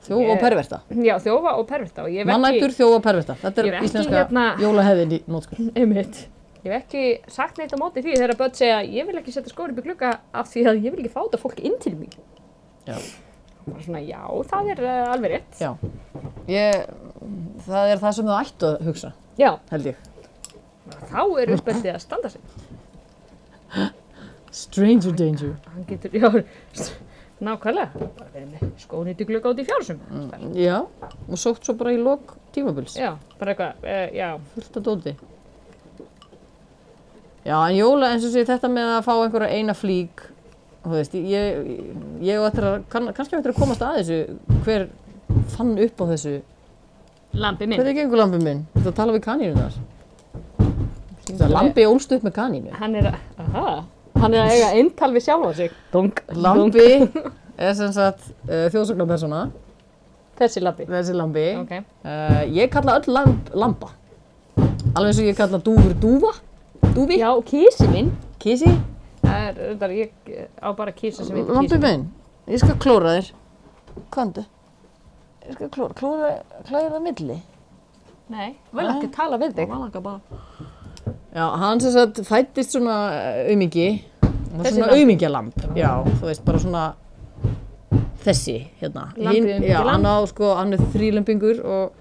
S4: þjófa og
S2: Ég-
S4: perverta.
S2: Já, þjófa og perverta og ég hef ekki,
S4: Mannættur, þjófa og perverta. Þetta
S2: Ég hef
S4: er
S2: ekki
S4: íslenska
S2: hérna-
S4: jólahefðin í nótskun.
S2: einmitt, ég hef ekki sagt neitt á móti því þegar börn segja ég vil ekki setja skóri upp í glugga af því að ég vil ekki fá þetta fólk inn til mín.
S4: Já.
S2: Og bara svona, já, það er uh, alveg rétt.
S4: Já. Ég, það er það sem þú ættu að hugsa,
S2: Já,
S4: held ég.
S2: þá er uppbættið að standa sig.
S4: Stranger danger.
S2: Hann getur, já, s- nákvæmlega, bara verið með skóni til glugga út í fjálsum. Mm.
S4: Já, og sótt svo bara í lok tímabils.
S2: Já, bara eitthvað, uh, já,
S4: fullt af dóti. Já, en jóla, eins og sé þetta með að fá einhverja eina flík, þú veist, ég, ég og eftir að, kann, kannski á eftir að komast að þessu, hver fann upp á þessu,
S2: lampi minn.
S4: hvernig gengur lambi minn? Þetta tala við kanínum þar. Það lambi ólst upp með kanínu.
S2: Hann er að, aha, hann er að eiga eintal við sjálfa sig. Dung,
S4: Lambi er sem sagt uh, þjóðsögnarpersona,
S2: Þessi lampi.
S4: þessi lambi.
S2: Ok,
S4: Uh, ég kalla öll lamb, lamba, alveg eins og ég kalla dúfur dúfa, dúfi,
S2: já, kísi minn.
S4: kísi,
S2: Það er, þetta er, ég eh, á bara kísi sem heitir kísi.
S4: Lampi minn, ég skal klóra þér. Kvandu. Ég skal klóra, klóra, klæra það milli.
S2: Nei, vel ekki tala við þig.
S4: Malaka bara. Já, hann sem sagt fættist svona eh, aumingi.
S2: Þessi
S4: Svona
S2: lamb.
S4: aumingjalamb. Já, þú veist, bara svona þessi hérna.
S2: Lambið
S4: Hinn- Já,
S2: aumingjalamb.
S4: hann á sko, hann er þrýlembingur og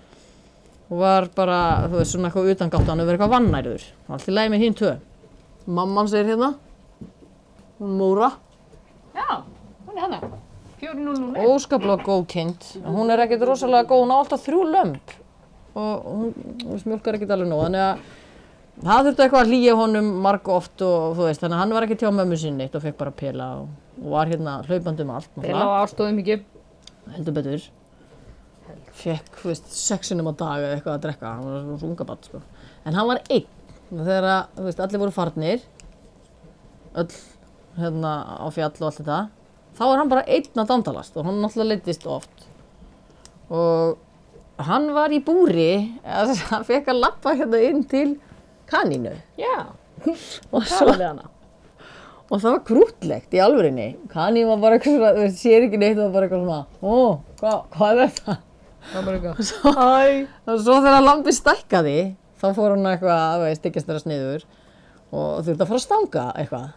S4: og var bara, þú veist, svona eitthvað utangátt, hann hefur verið eitthvað vannærður. Allt í lagi með hinn tvö. Mamman segir hérna, hún Móra.
S2: Já, hún er hérna. hana. 400.
S4: óskaplega góð kind. Hún er ekkert rosalega góð, hún á alltaf þrjú lömb og hún þú veist, mjólkar ekkert alveg nóg. Þannig að það þurfti eitthvað að hlýja honum marg oft og þú veist, þannig að hann var ekkert hjá mömmu sinni eitt og fekk bara pela og, og var hérna hlaupandi um allt.
S2: Pela á ástóðum ekki.
S4: náttúrulega, Heldur betur. Fekk, þú veist, sexinum á dag eða eitthvað að drekka, hann var svona unga barn, sko. En hann var einn, Og þegar að, þú veist, allir voru farnir, öll, hérna, á fjall og allt þetta þá er hann bara einn að dandalast og hann náttúrulega leittist oft og hann var í búri eða sem sagt, hann fekk að lappa hérna inn til kanínu
S2: Já,
S4: og,
S2: tala
S4: svo,
S2: við hana.
S4: og það var krútlegt í alvörinni kanín var bara eitthvað svona, þú veist, sér ekki neitt og var bara eitthvað svona, ó, hva, hvað er þetta
S2: Það er bara eitthvað.
S4: Æ. og svo þegar lambi stækkaði þá fór hann eitthvað að styggast þeirra sniður og þurfti að fara að stanga eitthvað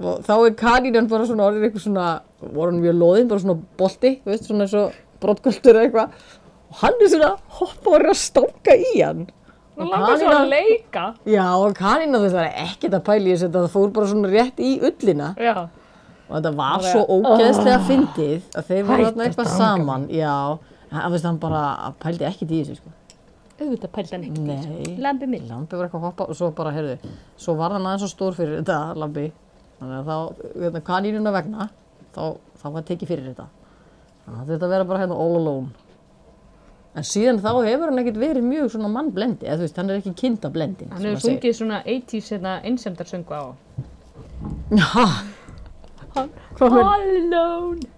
S4: og þá er kanínan bara svona orðin eitthvað svona voru hann mjög loðinn, bara svona bolti þú veist, svona eins og brotkvöldur eða eitthvað og hann er svona hoppa og er að stanga í hann
S2: Hún langar svo að leika.
S4: já og kanínan þú veist það er ekkert að pæli þessu þetta fór bara svona rétt í ullina
S2: Já.
S4: og þetta var svo ógeðslega fyndið ah, að þeir voru
S2: Hætt
S4: þarna
S2: að
S4: eitthvað
S2: stanga
S4: saman já, hann, veist, hann bara pældi ekkert í þessu sko.
S2: Auðvitað pældi hann ekki.
S4: Nei.
S2: Lambi minn.
S4: Lambi var eitthvað að hoppa og svo bara, heyrðu, svo var hann aðeins svo stór fyrir þetta, Lambi. Þannig að þá, hérna, kanínuna vegna, þá, þá var tekið fyrir þetta. Þannig að þetta vera bara hérna all alone. En síðan þá hefur hann ekkert verið mjög svona mannblendi, eða þú veist, hann er ekki kindablendin.
S2: Hann hefur sungið svona 80s hérna einsemdarsöngu á.
S4: Já,
S2: All alone.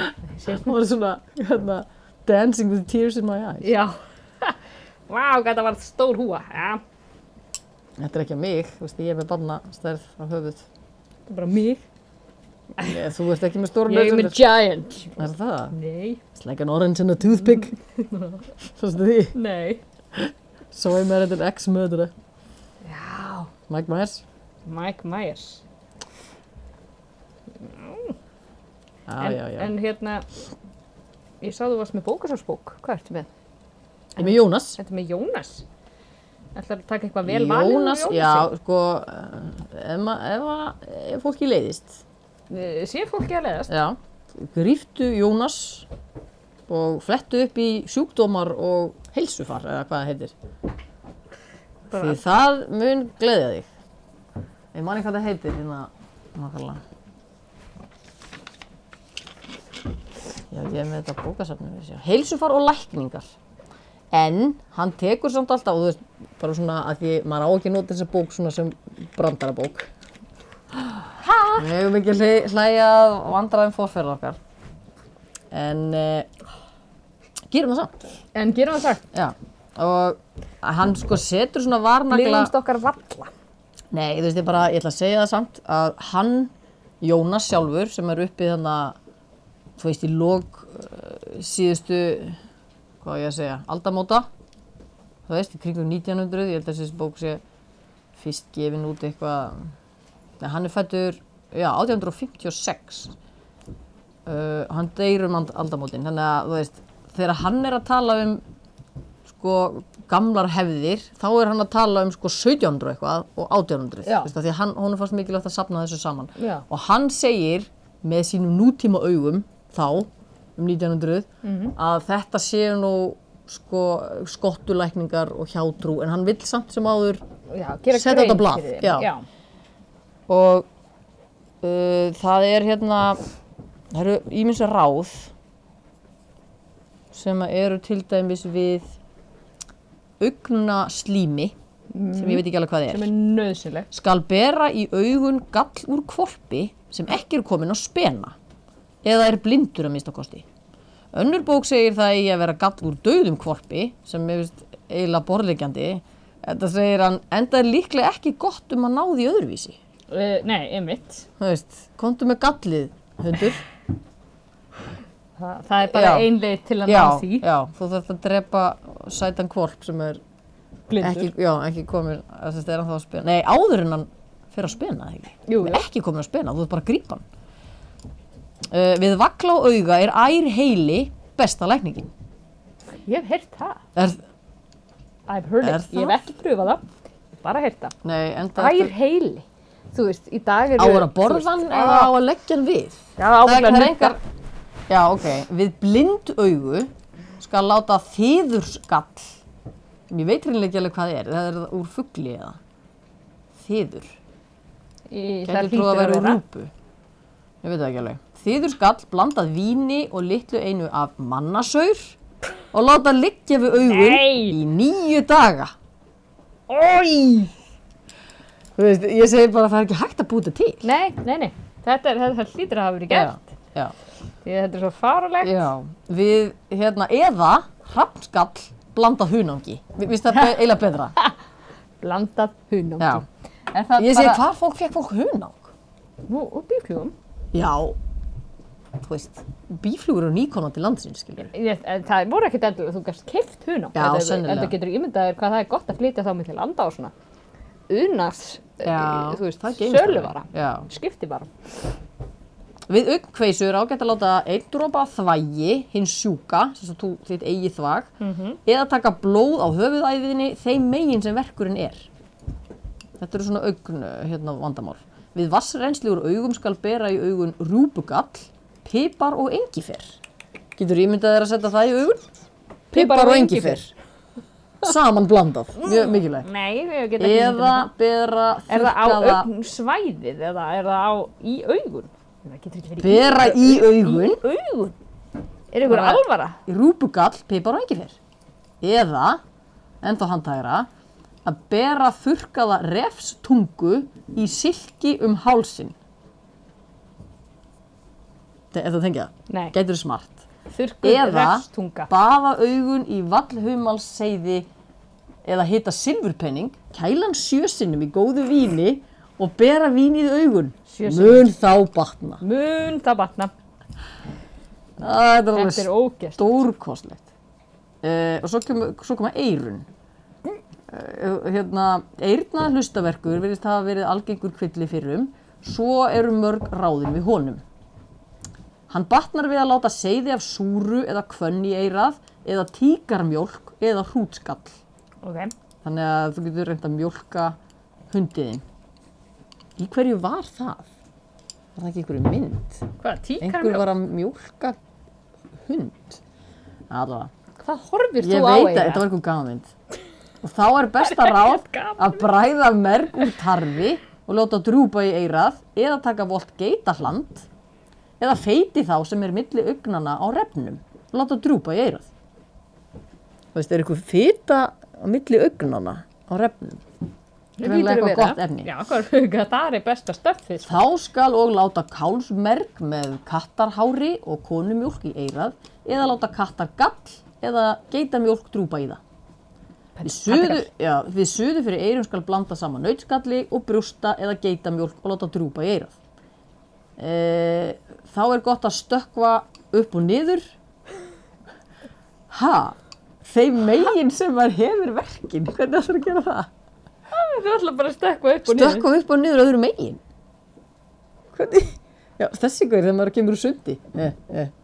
S4: hann var svona, hérna, dancing with tears in my eyes.
S2: Já. Vá, hvað það var stór húa. Já.
S4: Þetta er ekki að mig, þú veist, ég er með barna stærð á höfuð.
S2: Það er bara mig.
S4: Nei, Þú ert ekki með stóra
S2: Ég er með giant.
S4: Er það?
S2: Nei.
S4: It's like an orange and a toothpick.
S2: Mm.
S4: Svo stu því.
S2: Nei.
S4: Svo er maður eitthvað ex-möðra.
S2: Já.
S4: Mike Myers.
S2: Mike Myers.
S4: Já,
S2: en,
S4: Ah, já, já.
S2: en hérna, ég sá þú varst með bókasafsbók. Hvað ertu með?
S4: Ég er með Jónas.
S2: Þetta er með Jónas. Ætlar að taka eitthvað vel valið úr
S4: Jónas,
S2: Jónasi?
S4: já, sko, eh, ef, ma- ef, að- ef fólki leiðist,
S2: Eh, Sér fólki að leiðast?
S4: já, gríftu Jónas og flettu upp í sjúkdómar og heilsufar, eða hvað það heitir. Því það mun gleðja þig. Ég man ekki hvað það heitir hérna, nákvæmlega. Já, ég er með þetta bókasafnum við sjá. Heilsufar og lækningar. En hann tekur samt alltaf, og þú veist, bara svona að því maður á ekki að nota þessa bók svona sem brandarabók við hefum ekki að hlæ- hlæja að vandraðum fórferðar okkar en uh, gerum það samt
S2: En gerum það sagt,
S4: já. og að hann sko setur svona varnagla
S2: liðumst okkar valla.
S4: Nei, þú veist, ég bara, ég ætla að segja það samt að hann, Jónas sjálfur, sem er uppið þannig að, þú veist, í lók uh, síðustu, hvað á ég að segja, aldamóta, þú veist, í kringum 1900, ég held að þessi bók sé fyrst gefin út eitthvað, nei, hann er fættur, já, 1856, uh, hann deyr um and- aldamótin, þannig að, þú veist, þegar hann er að tala um sko gamlar hefðir þá er hann að tala um sko 1700 eitthvað og 1800
S2: Já.
S4: veist, af því að hann, honum fannst mikilvægt að sapna þessu saman
S2: Já.
S4: og hann segir með sínum nútíma augum þá um 1900 að þetta séu nú sko skottulækningar og hjátrú en hann vill samt sem áður
S2: Já, gera
S4: Setja
S2: grein
S4: þetta á blað,
S2: fyrir þeim.
S4: já. og uh, það er hérna það eru ímins ráð sem að eru til dæmis við augna slími sem ég veit ekki alveg hvað
S2: sem
S4: er
S2: er nöðsynleg.
S4: skal bera í augun gall úr kvolpi sem ekki er komin á spena eða er blindur að mista kosti önnur bók segir það eigi að vera gall úr döðum kvolpi sem er veist eiginlega borðlegjandi þetta segir hann enda er líklega ekki gott um að ná því öðruvísi
S2: Uh, nei, einmitt.
S4: Þú veist, komdu með gallið, hundur.
S2: Þa, það er bara
S4: Já.
S2: ein leið til að
S4: já,
S2: ná því.
S4: já, þú þarf að drepa sætan kvolp sem er
S2: Blindur.
S4: ekki, já, ekki komin, þess að er hann þá að spena. Nei, áður en hann fer að spena, ekki?
S2: Jú,
S4: Hann
S2: jú.
S4: er Ekki komin að spena, þú ert bara að grípa hann. Uh, við vakla á auga er ær heili besta lækningin.
S2: Ég hef heyrt það.
S4: Er,
S2: I've heard
S4: Er
S2: it. Ég hef
S4: það?
S2: ekki pröfað það. Ég hef Bara heyrt það.
S4: nei, enda
S2: Ær heili. Þú veist, í dag eru...
S4: á að
S2: þú
S4: borða
S2: veist, ah.
S4: hann
S2: á-
S4: eða á að leggja hann við.
S2: Já, ábyggilega
S4: það er
S2: nudda.
S4: engar- Já, ok. Við blind augu skal láta þýðurskall. Ég veit hreinlega ekki alveg hvað það er. Það er úr fugli eða. Þýður.
S2: Í-
S4: Gæti
S2: Það
S4: trú að
S2: hlýtur að
S4: vera úr
S2: vera.
S4: rúpu. Ég veit það ekki alveg. Þýðurskall blandað víni og litlu einu af mannasaur og láta liggja við augun
S2: Nei.
S4: í nýju daga.
S2: Ói!
S4: Þú veist, ég segi bara að það er ekki hægt að búta til.
S2: Nei, nei, nei. Þetta, er, þetta hlýtur að hafa verið gert.
S4: Já, já.
S2: Því að þetta er svo farulegt.
S4: Já, við, hérna, eða hrafnskall blandað hunangi. Við finnst það be eiginlega betra.
S2: Blandað hunum.
S4: Já.
S2: Er það
S4: Ég segi,
S2: bara...
S4: hvar fólk fekk fólk hunang?
S2: Nú, úr bílklúðum.
S4: Já, þú veist, bíflugur eru nýkona til landsins, skilur.
S2: Ég, en það voru ekkert endilega, þú gæst keift hunang.
S4: Já,
S2: Þetta-
S4: sennilega.
S2: Þetta getur ímyndaðir hvað það er gott að flytja þá milli landa og svona. Unars, eh, þú veist,
S4: geymist
S2: söluvara.
S4: alveg. Já.
S2: Skipti bara.
S4: Við augnkveisu er ágætt að láta einn dropa af þvægi, hinn sjúka, sem sagt þú þitt eigi þvag,
S2: Mhm.
S4: eða taka blóð á höfuðæðinni þeim megin sem verkurinn er. Þetta eru svona augn, hérna, vandamál. Við vassrensli úr augum skal bera í augun rúbugall, pipar og engifer. Getur ímyndað þér að setja það í augun? Pipar og engifer. Saman blandað, mjög mikilvægt.
S2: Nei, ég get ekki ímyndað mér
S4: Eða
S2: það.
S4: bera
S2: Er það á
S4: þurrkaða,
S2: augnsvæðið eða er það á í augun? Það getur ekki verið í
S4: bera í augun,
S2: augun. Er ykkur
S4: Bara-
S2: alvara?
S4: í rúpugall, pipar og engifer. Eða, ennþá handhægra, að bera þurrkaða refstungu í silki um hálsin. Þe- Er það tengið það?
S2: Nei.
S4: Gætur smart.
S2: Þurrkur
S4: Eða
S2: refstunga.
S4: baða augun í vallhumalsseiði eða hita silfurpenning, kælan sjösinnum í góðu víni og bera vínið í augun.
S2: Sjö sinnum.
S4: Mun þá batna.
S2: Mun það batna.
S4: Æ, Þetta er
S2: Þetta
S4: alveg
S2: er ógæst.
S4: stórkostlegt uh, og svo, kem, svo koma eirun uh, hérna eirna hlustaverkur verðist hafa verið algengur kvilli fyrrum svo eru mörg ráðin við honum hann batnar við að láta seiði af súru eða kvönn í eirað eða tíkarmjólk eða hrútskall
S2: Ok.
S4: þannig að þú getur reynd að mjólka hundiðin í hverju var það? var það ekki einhverju mynd?
S2: Hvað, tíkar
S4: einhver var að mjólka hund allavega
S2: Hvað horfir þú
S4: Ég
S2: á
S4: veit að
S2: eiginlega?
S4: þetta var eitthvað gamanmynd. Og þá er besta ráð að bræða merg úr tarfi og láta drúpa í eirað eða taka volt geitahland eða feiti þá sem er milli augnana á refnum og láta drúpa í eirað. Þú veist, er eitthvað fita á milli augnana? á refnum.
S2: Það hlýtur
S4: Greinilega
S2: að
S4: eitthvað
S2: vera.
S4: gott efni.
S2: Já, hvað, það er besta stöffið, sko.
S4: Þá skal og láta kálsmerg með kattarhári og konumjólk í eirað eða láta kattargall eða geitamjólk drúpa í það. Við suðu, já, við suðu fyrir eirum skal blanda saman nautskalli og brjósta eða geitamjólk og láta drúpa í eirað. E, þá er gott að stökkva upp og niður. Ha, þeim megin sem maður hefur verkin, hvernig ætlar að gera það?
S2: Það er alltaf bara að stökkva upp og niður.
S4: Stökkva upp og niður öðru megin. Hvernig? Já, þessi gaur þegar maður kemur úr sundi. Eh, eh.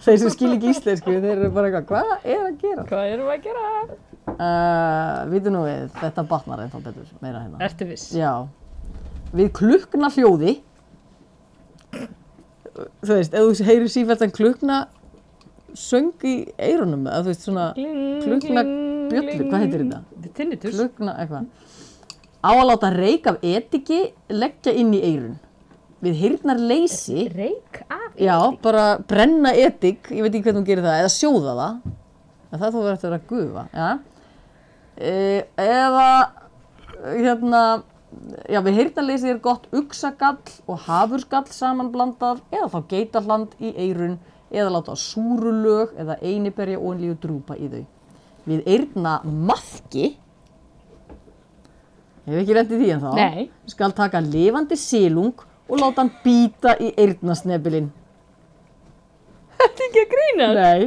S4: Þeir sem skil ekki íslensku, þeir eru bara eitthvað, hvað er að gera?
S2: Hvað erum við að gera?
S4: Uh, Vítu nú við, þetta batnar ennþá betur, meira hérna.
S2: Ertu viss?
S4: Já. Við klukna hljóði. Þú veist, ef þú heyrir sífæltan klukna söng í eyrunum, eða þú veist svona klukna bjöllu, hvað heitir þetta?
S2: Tinnitus.
S4: Klukna eitthvað. Á að láta reyk af etiki leggja inn í eyrun. Við heyrnar leysi,
S2: Reik af.
S4: já, bara brenna etik, ég veit ekki hvernig hún gerir það, eða sjóða það. En það þú verður eftir að vera að gufa, já. E, eða, hérna, já, við heyrnar leysi er gott uxagall og hafurskall samanblandað eða þá geitarland í eyrun eða láta súrulög eða einiberja óinlíu drúpa í þau. Við eyrna maðki, Hef ekki rendið því en þá?
S2: Nei.
S4: Skal taka lifandi silung og láta hann býta í eyrnasnebilinn.
S2: Þetta er ekki að grína.
S4: Nei.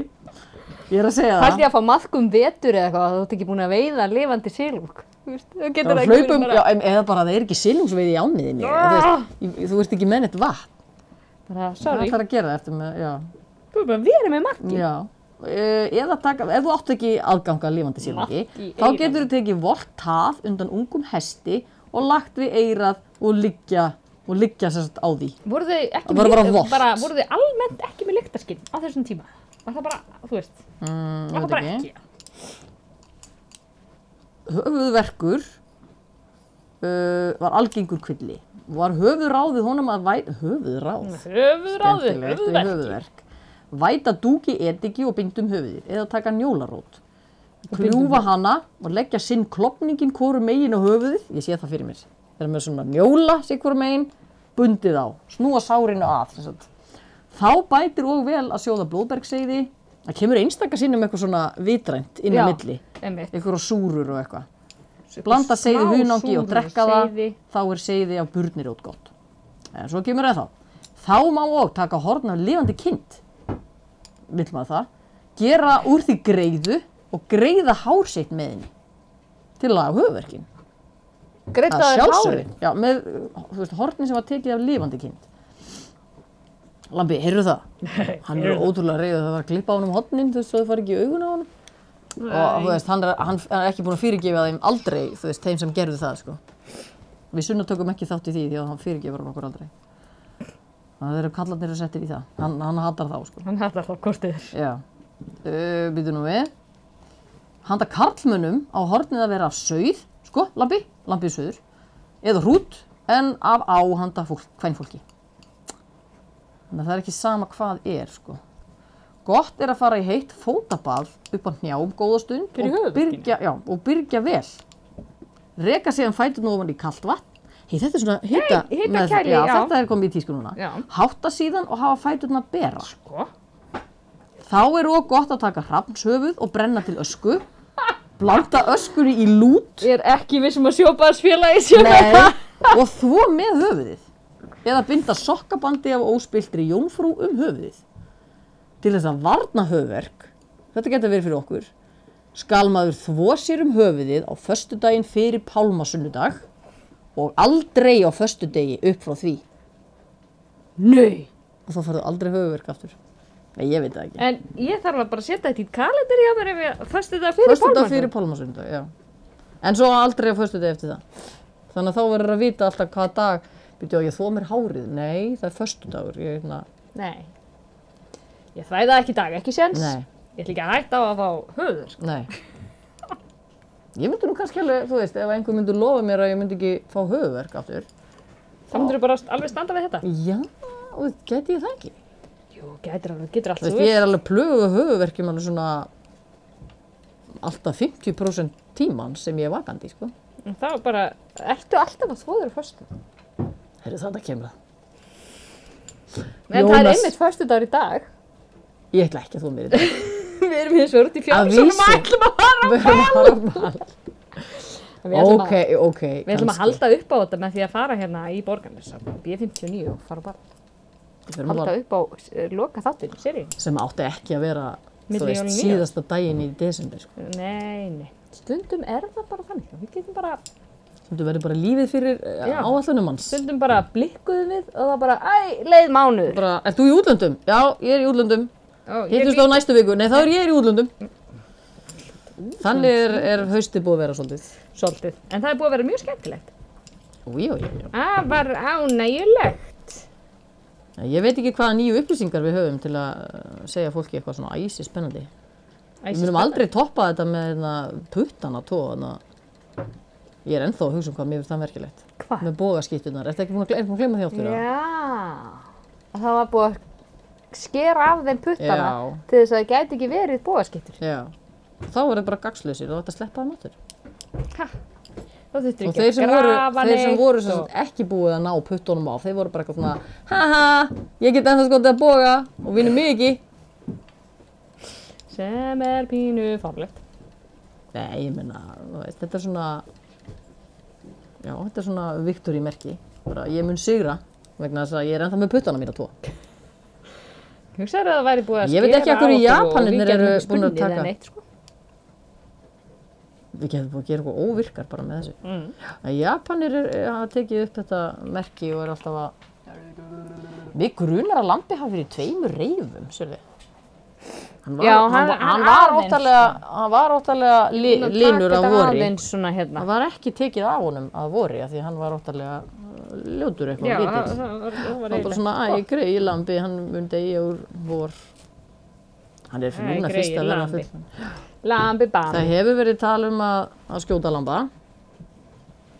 S4: Ég er að segja það.
S2: Haldi að fá maðkum vetur eða eitthvað, þú ert ekki búin að veiða lifandi silung. Þú veist, þú
S4: Það
S2: getur
S4: var
S2: ekki verið
S4: hlaupum,
S2: bara-
S4: já, em- eða bara það er ekki silungsveið í ániðinni.
S2: Ah!
S4: Þú veist ekki með neitt vatn.
S2: Bara,
S4: Það
S2: sorry.
S4: ætlar að gera það eftir með, já.
S2: Þú er bara að vera með maðki.
S4: já. Eh, Eða taka, ef þú átt ekki aðganga að lifandi silungi,
S2: Vatn í
S4: þá
S2: eyranu.
S4: getur þú tekið vort tað undan ungum hesti og lagt við eirað og liggja, og liggja sérst á því.
S2: Voru þau ekki
S4: Það var bara
S2: lykt-
S4: vont.
S2: bara, voru þau almennt ekki með lyktarskinn á þessum tíma? Var það bara, þú veist,
S4: Mm,
S2: var
S4: ég
S2: það
S4: veit
S2: bara ekki?
S4: höfuðverkur uh, var algengur kvilli var höfuðráðið honum að væta höfuðráð,
S2: Höfuðráðið,
S4: Skemmtilegt,
S2: höfuðverk.
S4: höfuðverk. væta dúki etiki og bindum höfuðið eða taka njólarót kljúfa hana og leggja sinn klopningin hvoru megin á höfuðið ég sé það fyrir mér þegar maður svona njóla sig hvoru megin bundið á, snúa sárinu að sem sagt. þá bætir og vel að sjóða blóðbergseiði það kemur einstaka sinnum eitthvað svona vitrænt inn á
S2: Já.
S4: milli
S2: Einmitt.
S4: einhverja súrur og eitthvað.
S2: Svo
S4: Blanda
S2: smá
S4: seiði hunangi og
S2: súrur
S4: drekka það,
S2: seiði.
S4: þá er seiði af burnirjót gott. En svo kemur það þá. Þá má og taka horn af lifandi kind, vill maður það, gera úr því greiðu og greiða hár sitt með henni til að laga höfverkin.
S2: Greidda þau hárin.
S4: Já, með, uh, þú veist, hornin sem var tekið af lifandi kind. Lambi, heyrðu það? Nei, hann er ótrúlega reyður það var að klippa á honum hornin, þú veist, svo þau fari ekki í augun á honum og þú veist, hann er, hann, hann er ekki búin að fyrirgefa þeim aldrei, þú veist, þeim sem gerðu það, sko. Við sunna tökum ekki þátt í því því að hann fyrirgefur hann okkur aldrei. Þannig að þeir eru kallarnir að setja í það. Hann, hann hattar þá, sko.
S2: Hann hættar þá kostiður.
S4: Já. Uh, Býtu nú við. Handa karlmönnum á hornið að vera af sauð, sko, lampi, lampið sauður, eða hrút, en af á handa fólk, kvænfólki. Þannig að það er ekki sama hvað er, sko. Gott er að fara í heitt fótabað upp á hnjám góða stund
S2: Fyrir
S4: og
S2: höfuðverkinn.
S4: byrgja, já, og byrgja vel. Reka síðan fætur ofan í kallt vatn. Hei, þetta er svona hita,
S2: Hei, hitakæli,
S4: já,
S2: já.
S4: þetta er komið í tísku núna.
S2: Já.
S4: Hátta síðan og hafa fæturna bera.
S2: Sko?
S4: Þá er óg gott að taka hrafnshöfuð og brenna til ösku. Blanda öskunni í lút.
S2: Ég er ekki við sem að sjópaðarsfélagi sé með
S4: Nei. Og þvo með höfuðið. Eða binda sokkabandi af óspiltri jónfrú um höfuðið. Til þess að varna höfverk, þetta getur verið fyrir okkur, skal maður þvo sér um höfuðið á föstudaginn fyrir pálmasunnudag og aldrei á föstudegi upp frá því.
S2: Nei.
S4: Og þá farðu aldrei höfuverk aftur. Nei, ég veit það ekki.
S2: En ég þarf að bara setja þetta í kalendar hjá mér ef ég föstu þetta fyrir
S4: Föstudag
S2: pálmann.
S4: fyrir pálmasundag, já. En svo aldrei á föstudag eftir það. Þannig að þá verður að vita alltaf hvaða dag, býttu á ég þó mér hárið, nei, það er hérna- föstudagur, ég veit það.
S2: Nei. Ég þvæða ekki í dag, ekki séns.
S4: Nei.
S2: Ég ætla ekki að hætta á að fá höður, sko.
S4: Nei. Ég myndi nú kannski alveg, þú veist, ef einhver myndi lofa mér að ég myndi ekki fá höfuverk aftur.
S2: Það myndur bara alveg standa við þetta.
S4: Já, og geti ég það ekki.
S2: Jú, getur alveg, getur allt
S4: Þú
S2: þú
S4: veist, ég er alveg plöguð höfuverkjum alveg svona alltaf 50% tíman sem ég er vakandi, sko.
S2: En Það var bara, ertu alltaf að þvoður á föstu?
S4: Herru, þetta kemur það.
S2: En það er
S4: Jónas.
S2: einmitt föstudagur í dag.
S4: Ég ætla ekki að þú mér í dag.
S2: Við erum hins vegar út í
S4: Að
S2: fjálsum
S4: vísu.
S2: ætlum að fara.
S4: Við erum að fara á ball.
S2: Við ætlum,
S4: Ok,
S2: að,
S4: ok,
S2: við ætlum að
S4: kannski.
S2: halda upp á þetta með því að fara hérna í borgarnes á B59 og fara bara
S4: Við erum að
S2: halda
S4: halda
S2: upp á eh, loka þáttinu, sér ég.
S4: Sem átti ekki að vera, þú
S2: Milli
S4: veist,
S2: jól og nýárs.
S4: síðasta daginn í desember, sko.
S2: Nei, nei. Stundum er það bara þannig. Við getum bara,
S4: Þú verður bara lífið fyrir
S2: Já.
S4: áallunum hans.
S2: stundum bara blikkuðum við og það bara, æ, leið mánuður.
S4: Bara, ert þú í útlöndum? Já, ég er í útlöndum.
S2: Ó, ég
S4: Hittust
S2: líka.
S4: á næstu viku. Nei, þá er ég í útlöndum. Þannig er, er haustið búið að vera svolítið.
S2: Svolítið. En það er búið að vera mjög skemmtilegt.
S4: Új, új, új.
S2: Það var ánægilegt.
S4: Ég veit ekki hvaða nýju upplýsingar við höfum til að uh, segja fólki eitthvað svona æsi spennandi. Við munum aldrei toppa þetta með hérna, puttana tó. Hérna. Ég er ennþá að hugsa um hvað mér finnst það merkilegt.
S2: Hvað?
S4: Með bógaskýttunar. Er þetta ekki búin að, gle- er búin að glemma því áttur?
S2: Já. Og það var búið að skera af þeim puttana
S4: Já.
S2: til þess að það gæti ekki verið bóðaskiptur.
S4: Já. Þá voru þeir bara gagslausir og þetta sleppaði matur.
S2: Þá þurftur
S4: Og
S2: ekki
S4: þeir
S2: að
S4: sem voru,
S2: grafa
S4: þeir sem
S2: neitt
S4: voru sem sagt, ekki búið að ná puttunum á, þeir voru bara eitthvað svona Haha, ég get ennþá skotið að boga og vinnu mig ekki.
S2: Sem er pínu farlegt.
S4: Nei, ég meina, þú veist, þetta er svona Já, þetta er svona Viktor í merki, bara ég mun sigra vegna þess að ég er ennþá með puttana mína tvo
S2: Hugsaður að það væri búið að
S4: Ég
S2: skera
S4: veit ekki af hverju
S2: af okkur og
S4: Japanirnir
S2: við gætum ekki
S4: eru búin að
S2: spunnið eða
S4: taka.
S2: Neitt, sko.
S4: Við getum búið að gera eitthvað óvirkar bara með þessu mm. Japanir er, hafa tekið upp þetta merki og er alltaf að Við grunar að lampi hafi verið í tveimur reyfum, sérðu Hann var,
S2: Já,
S4: hann,
S2: hann-
S4: hann, var
S2: aðeins,
S4: óttalega, hann var óttalega li,
S2: Búin að taka
S4: linur af
S2: þetta
S4: vori
S2: aðeins svona hérna.
S4: Það var ekki tekið af honum að vori af því hann var óttalega uh, ljótur
S2: Já,
S4: eitthvað
S2: það
S4: lítill.
S2: það var það var
S4: Það var bara
S2: eiginlega.
S4: svona, æ, grei lambi, hann mun degja úr vor. Hann er
S2: Æ,
S4: núna
S2: greyið
S4: fyrst að vera
S2: lambi.
S4: full.
S2: Lambi bambi.
S4: Það hefur verið tal um að, að skjóta lamba.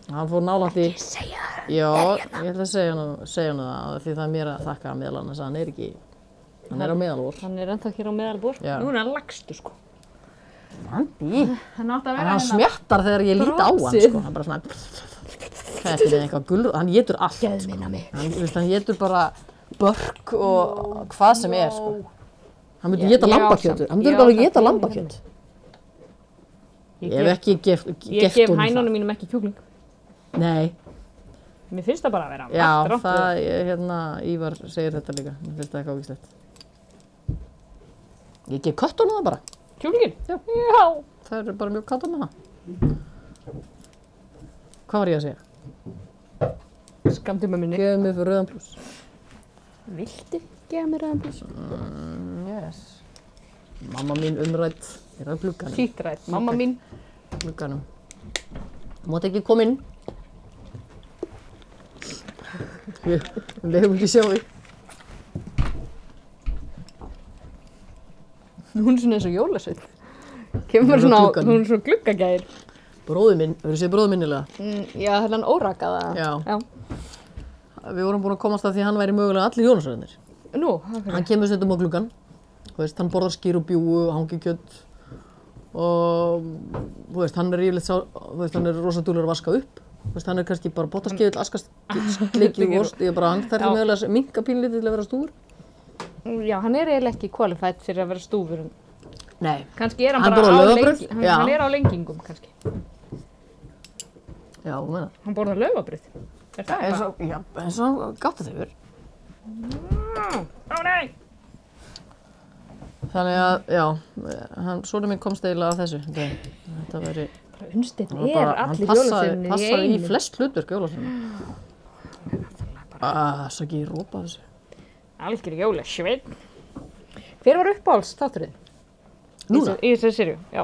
S4: Hann fór nálangt í... Ekki segja það. Já,
S2: hérna.
S4: ég ætla að segja hann, segja hann það, því það er mér að þakka að meðal annars að hann er ekki... Hann er á meðalvor.
S2: Hann er ennþá hér á meðalbúr.
S4: Já.
S2: Núna lagstu sko.
S4: Landi?
S2: Hann átti að vera
S4: En hann
S2: hérna.
S4: smjattar þegar ég lít á hann,
S2: Brosið.
S4: sko. Hann bara svona... Þetta er eitthvað gulrú... Hann getur allt, sko.
S2: minna mig.
S4: Hann, þú veist, hann getur bara börk og hvað sem er, sko. Hann myndi
S2: Ég- ég
S4: geta
S2: á
S4: lambakjötu.
S2: samt-
S4: Hann
S2: ég
S4: myndi
S2: á
S4: bara
S2: samt
S4: geta
S2: pínu
S4: lambakjöt.
S2: Ég
S4: Ég hef
S2: gef,
S4: ekki gef,
S2: ég
S4: geft
S2: gef
S4: honum
S2: hænunum
S4: það.
S2: mínum ekki kjúkling.
S4: Nei,
S2: Mér finnst það bara að vera
S4: já,
S2: allt rangt við
S4: það, ég- hérna, Ívar segir þetta líka. Mér finnst það eitthvað ógíslegt. Ég gef köttunum það bara.
S2: Kjúklingin?
S4: Já.
S2: Já.
S4: Það eru bara mjög kattum með það. Hvað var ég að segja?
S2: Skamdi með minni.
S4: Gefið mig fyrir rauðan pluss.
S2: Viltu gefa mér aðeins pluss?
S4: Yes. Mamma mín umrætt er að glugganum.
S2: Sýttrætt. Mamma mín.
S4: glugganum. Mátt ekki koma inn. Við lefum ekki sjá því.
S2: Hún er svona eins og jólasveit. Kemur
S4: Hún er á
S2: svona, á-
S4: glugganum.
S2: hún er svona gluggagæðir.
S4: Bróður minn, hefur séð bróður minnilega?
S2: Mm, já, það er hann órakaða.
S4: Já.
S2: Já.
S4: Við vorum búin að komast að því að hann væri mögulega allir hjónasræðinir.
S2: Nú, það fyrir.
S4: Hann kemur stundum á gluggan. Þú veist, hann borðar skýr og bjúgu og hangi kjött. Og, þú veist, hann er yfirleitt sá, þú veist, hann er rosa dúlur að vaska upp. Þú veist, hann er kannski bara botaskeiðil, askast, sleikið vorst. Ég er bara, hann þarf
S2: Já.
S4: mögulega að minka pínlítið til að vera stúr.
S2: Já, hann er eiginlega ekki qualified fyrir að vera stúfurinn.
S4: Nei.
S2: Kannski er hann,
S4: Hann
S2: bara
S4: borðar
S2: á
S4: laufabrauð,
S2: lengi- Hann,
S4: já.
S2: hann er á lengingum, kannski.
S4: Já, þú meina.
S2: Hann borðar löfabrið. Er það
S4: eins
S2: eitthvað?
S4: og, já, eins og gátti þau verið.
S2: Ó, nei!
S4: Þannig að, já, hann, svona minn komst eiginlega af þessu. Þetta, þetta veri,
S2: Unnsteinn
S4: hann
S2: er
S4: bara-
S2: allir
S4: hann passaði,
S2: jólasveinarnir í
S4: passaði í
S2: einu.
S4: flest hlutverk jólasveinu. Ah, svo ekki ég rópa af þessu.
S2: Algjör jólasveinn. Hver var uppáhalds þátturinn?
S4: Núna,
S2: Í þessu sirju, já.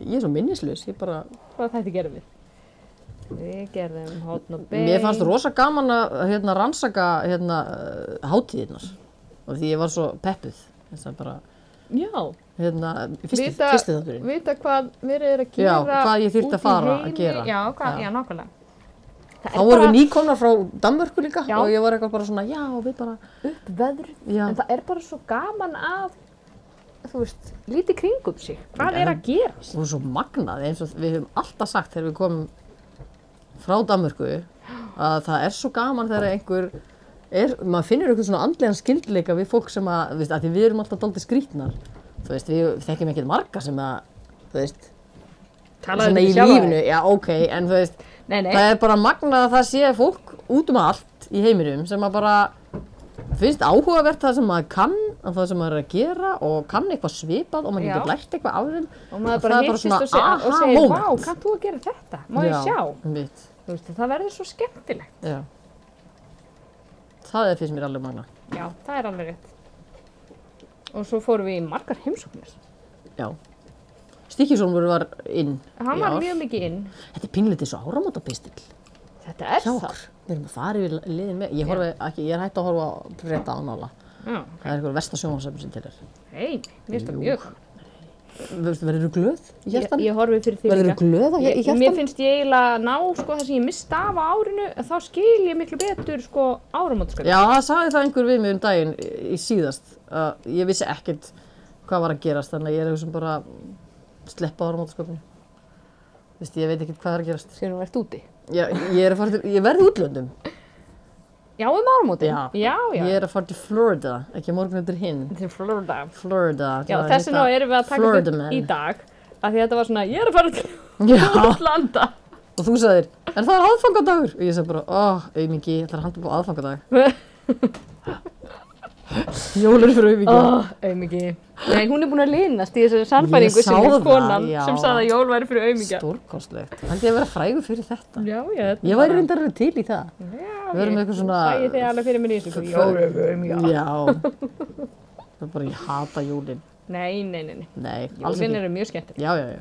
S4: ég er svo minnislaus, ég bara,
S2: Hvað þetta gerðum við? Við gerðum hotn og bein.
S4: mér fannst rosa gaman að hérna rannsaka hérna eh, hátíðirnar og því ég var svo peppuð. Þess að bara,
S2: Já.
S4: hérna, fyrsti,
S2: Vita,
S4: fyrsti þátturinn.
S2: vita hvað verið er að
S4: Já,
S2: gera
S4: hvað ég þyrfti
S2: út
S4: að
S2: í
S4: fara að
S2: heimi.
S4: gera.
S2: Já, hvað,
S4: Já.
S2: já, nákvæmlega.
S4: Þá vorum við nýkomnar frá Danmörku líka
S2: Já.
S4: og ég var eitthvað bara svona, já, við bara,
S2: Veður,
S4: já.
S2: en það er bara svo gaman að, þú veist, lítið kringum sig. Hvað er að gerast?
S4: og svo magnað eins og við höfum alltaf sagt þegar við komum frá Danmörku að það er svo gaman þegar einhver er, maður finnur einhvern svona andlegan skildleika við fólk sem að, þú veist, að því við erum alltaf daldið skrítnar þú veist, við þekkjum ekkert marga sem að, þú veist
S2: um
S4: svona í
S2: sjálfa
S4: lífinu,
S2: þig.
S4: já ok en þú veist,
S2: Nei, nei.
S4: það er bara magnað að það sé fólk út um allt í heiminum sem að bara finnst áhugavert það sem maður kann og það sem maður er að gera og kann eitthvað svipað og maður
S2: Já.
S4: getur lært eitthvað af þeim
S2: Og maður bara hittist og, seg, og segir, vá, kannt þú að gera þetta? Má ég sjá?
S4: mitt,
S2: Þú veist, það verður svo skemmtilegt.
S4: já. það er fyrst mér alveg magna
S2: Já, það er alveg rétt. Og svo fórum við í margar heimsóknir.
S4: já Stíkisólmur var inn
S2: Hann
S4: í
S2: var
S4: ár.
S2: mjög mikið inn.
S4: Þetta er pínleitið svo áramótapistill
S2: Þetta er
S4: hjá
S2: það.
S4: okkur. Við erum að fara yfir liðin með, ég, horfi, ekki, ég er hægt að horfa á frétta á nála.
S2: Já,
S4: Það er eitthvað versta sjónvarsefni sem til er.
S2: hei, mér finnst það
S4: Jú.
S2: mjög.
S4: Verður þú glöð í
S2: Ég,
S4: hjartan?
S2: ég horfið fyrir því
S4: Verður þú glöð á- í
S2: Ég,
S4: hjartan?
S2: mér finnst ég eiginlega ná, sko, það sem ég mista af á árinu, að þá skil ég miklu betur, sko, áramótaskvöld.
S4: Já, það sagði það einhver við mig um daginn í- í síðast. Uh, ég vissi ekkert hvað var að gerast, þannig að ég er eitthvað sem bara sleppa áramótasköpunni. Þú veist, ég veit ekkert hvað er að gerast.
S2: Sér hún verðt úti.
S4: Ég, ég er að fara til, ég verði útlöndum.
S2: Já, um áramótin.
S4: Já.
S2: já. já.
S4: Ég er að fara til Florida, ekki morgun eftir hinn.
S2: Þetta er Florida.
S4: Florida.
S2: Já, þessi nú erum við að taka
S4: hérna Florida
S2: þetta upp í
S4: man.
S2: dag. Af því að þetta var svona, ég er að fara til
S4: Já,
S2: útlanda.
S4: og þú sagðir, en það er aðfangadagur. Og ég sagði bara, óh, oh, auðmingi, ég ætlar að handa upp á aðfangadag. Jólur fyrir auðmingi.
S2: Oh, auðmiki. Nei, hún er búin að linast í þessari
S4: Ég
S2: sannfæringu
S4: sá
S2: sem er
S4: það,
S2: konan
S4: já.
S2: sem sagði að jól væri fyrir auðmika.
S4: Stórkostlegt. Held ég að vera frægur fyrir þetta.
S2: Já, já. þetta
S4: Ég
S2: bara-
S4: væri reyndar alveg til í það.
S2: Já,
S4: við erum eitthvað svona-
S2: Sæði þið alveg fyrir mér í þessu. sko. Jól er fyrir auðmika.
S4: Já. Það er bara, ég hata jólin.
S2: Nei, nei, nei, nei.
S4: Nei, alls
S2: Jólin
S4: ekki.
S2: eru mjög skemmtileg.
S4: Já, já, já.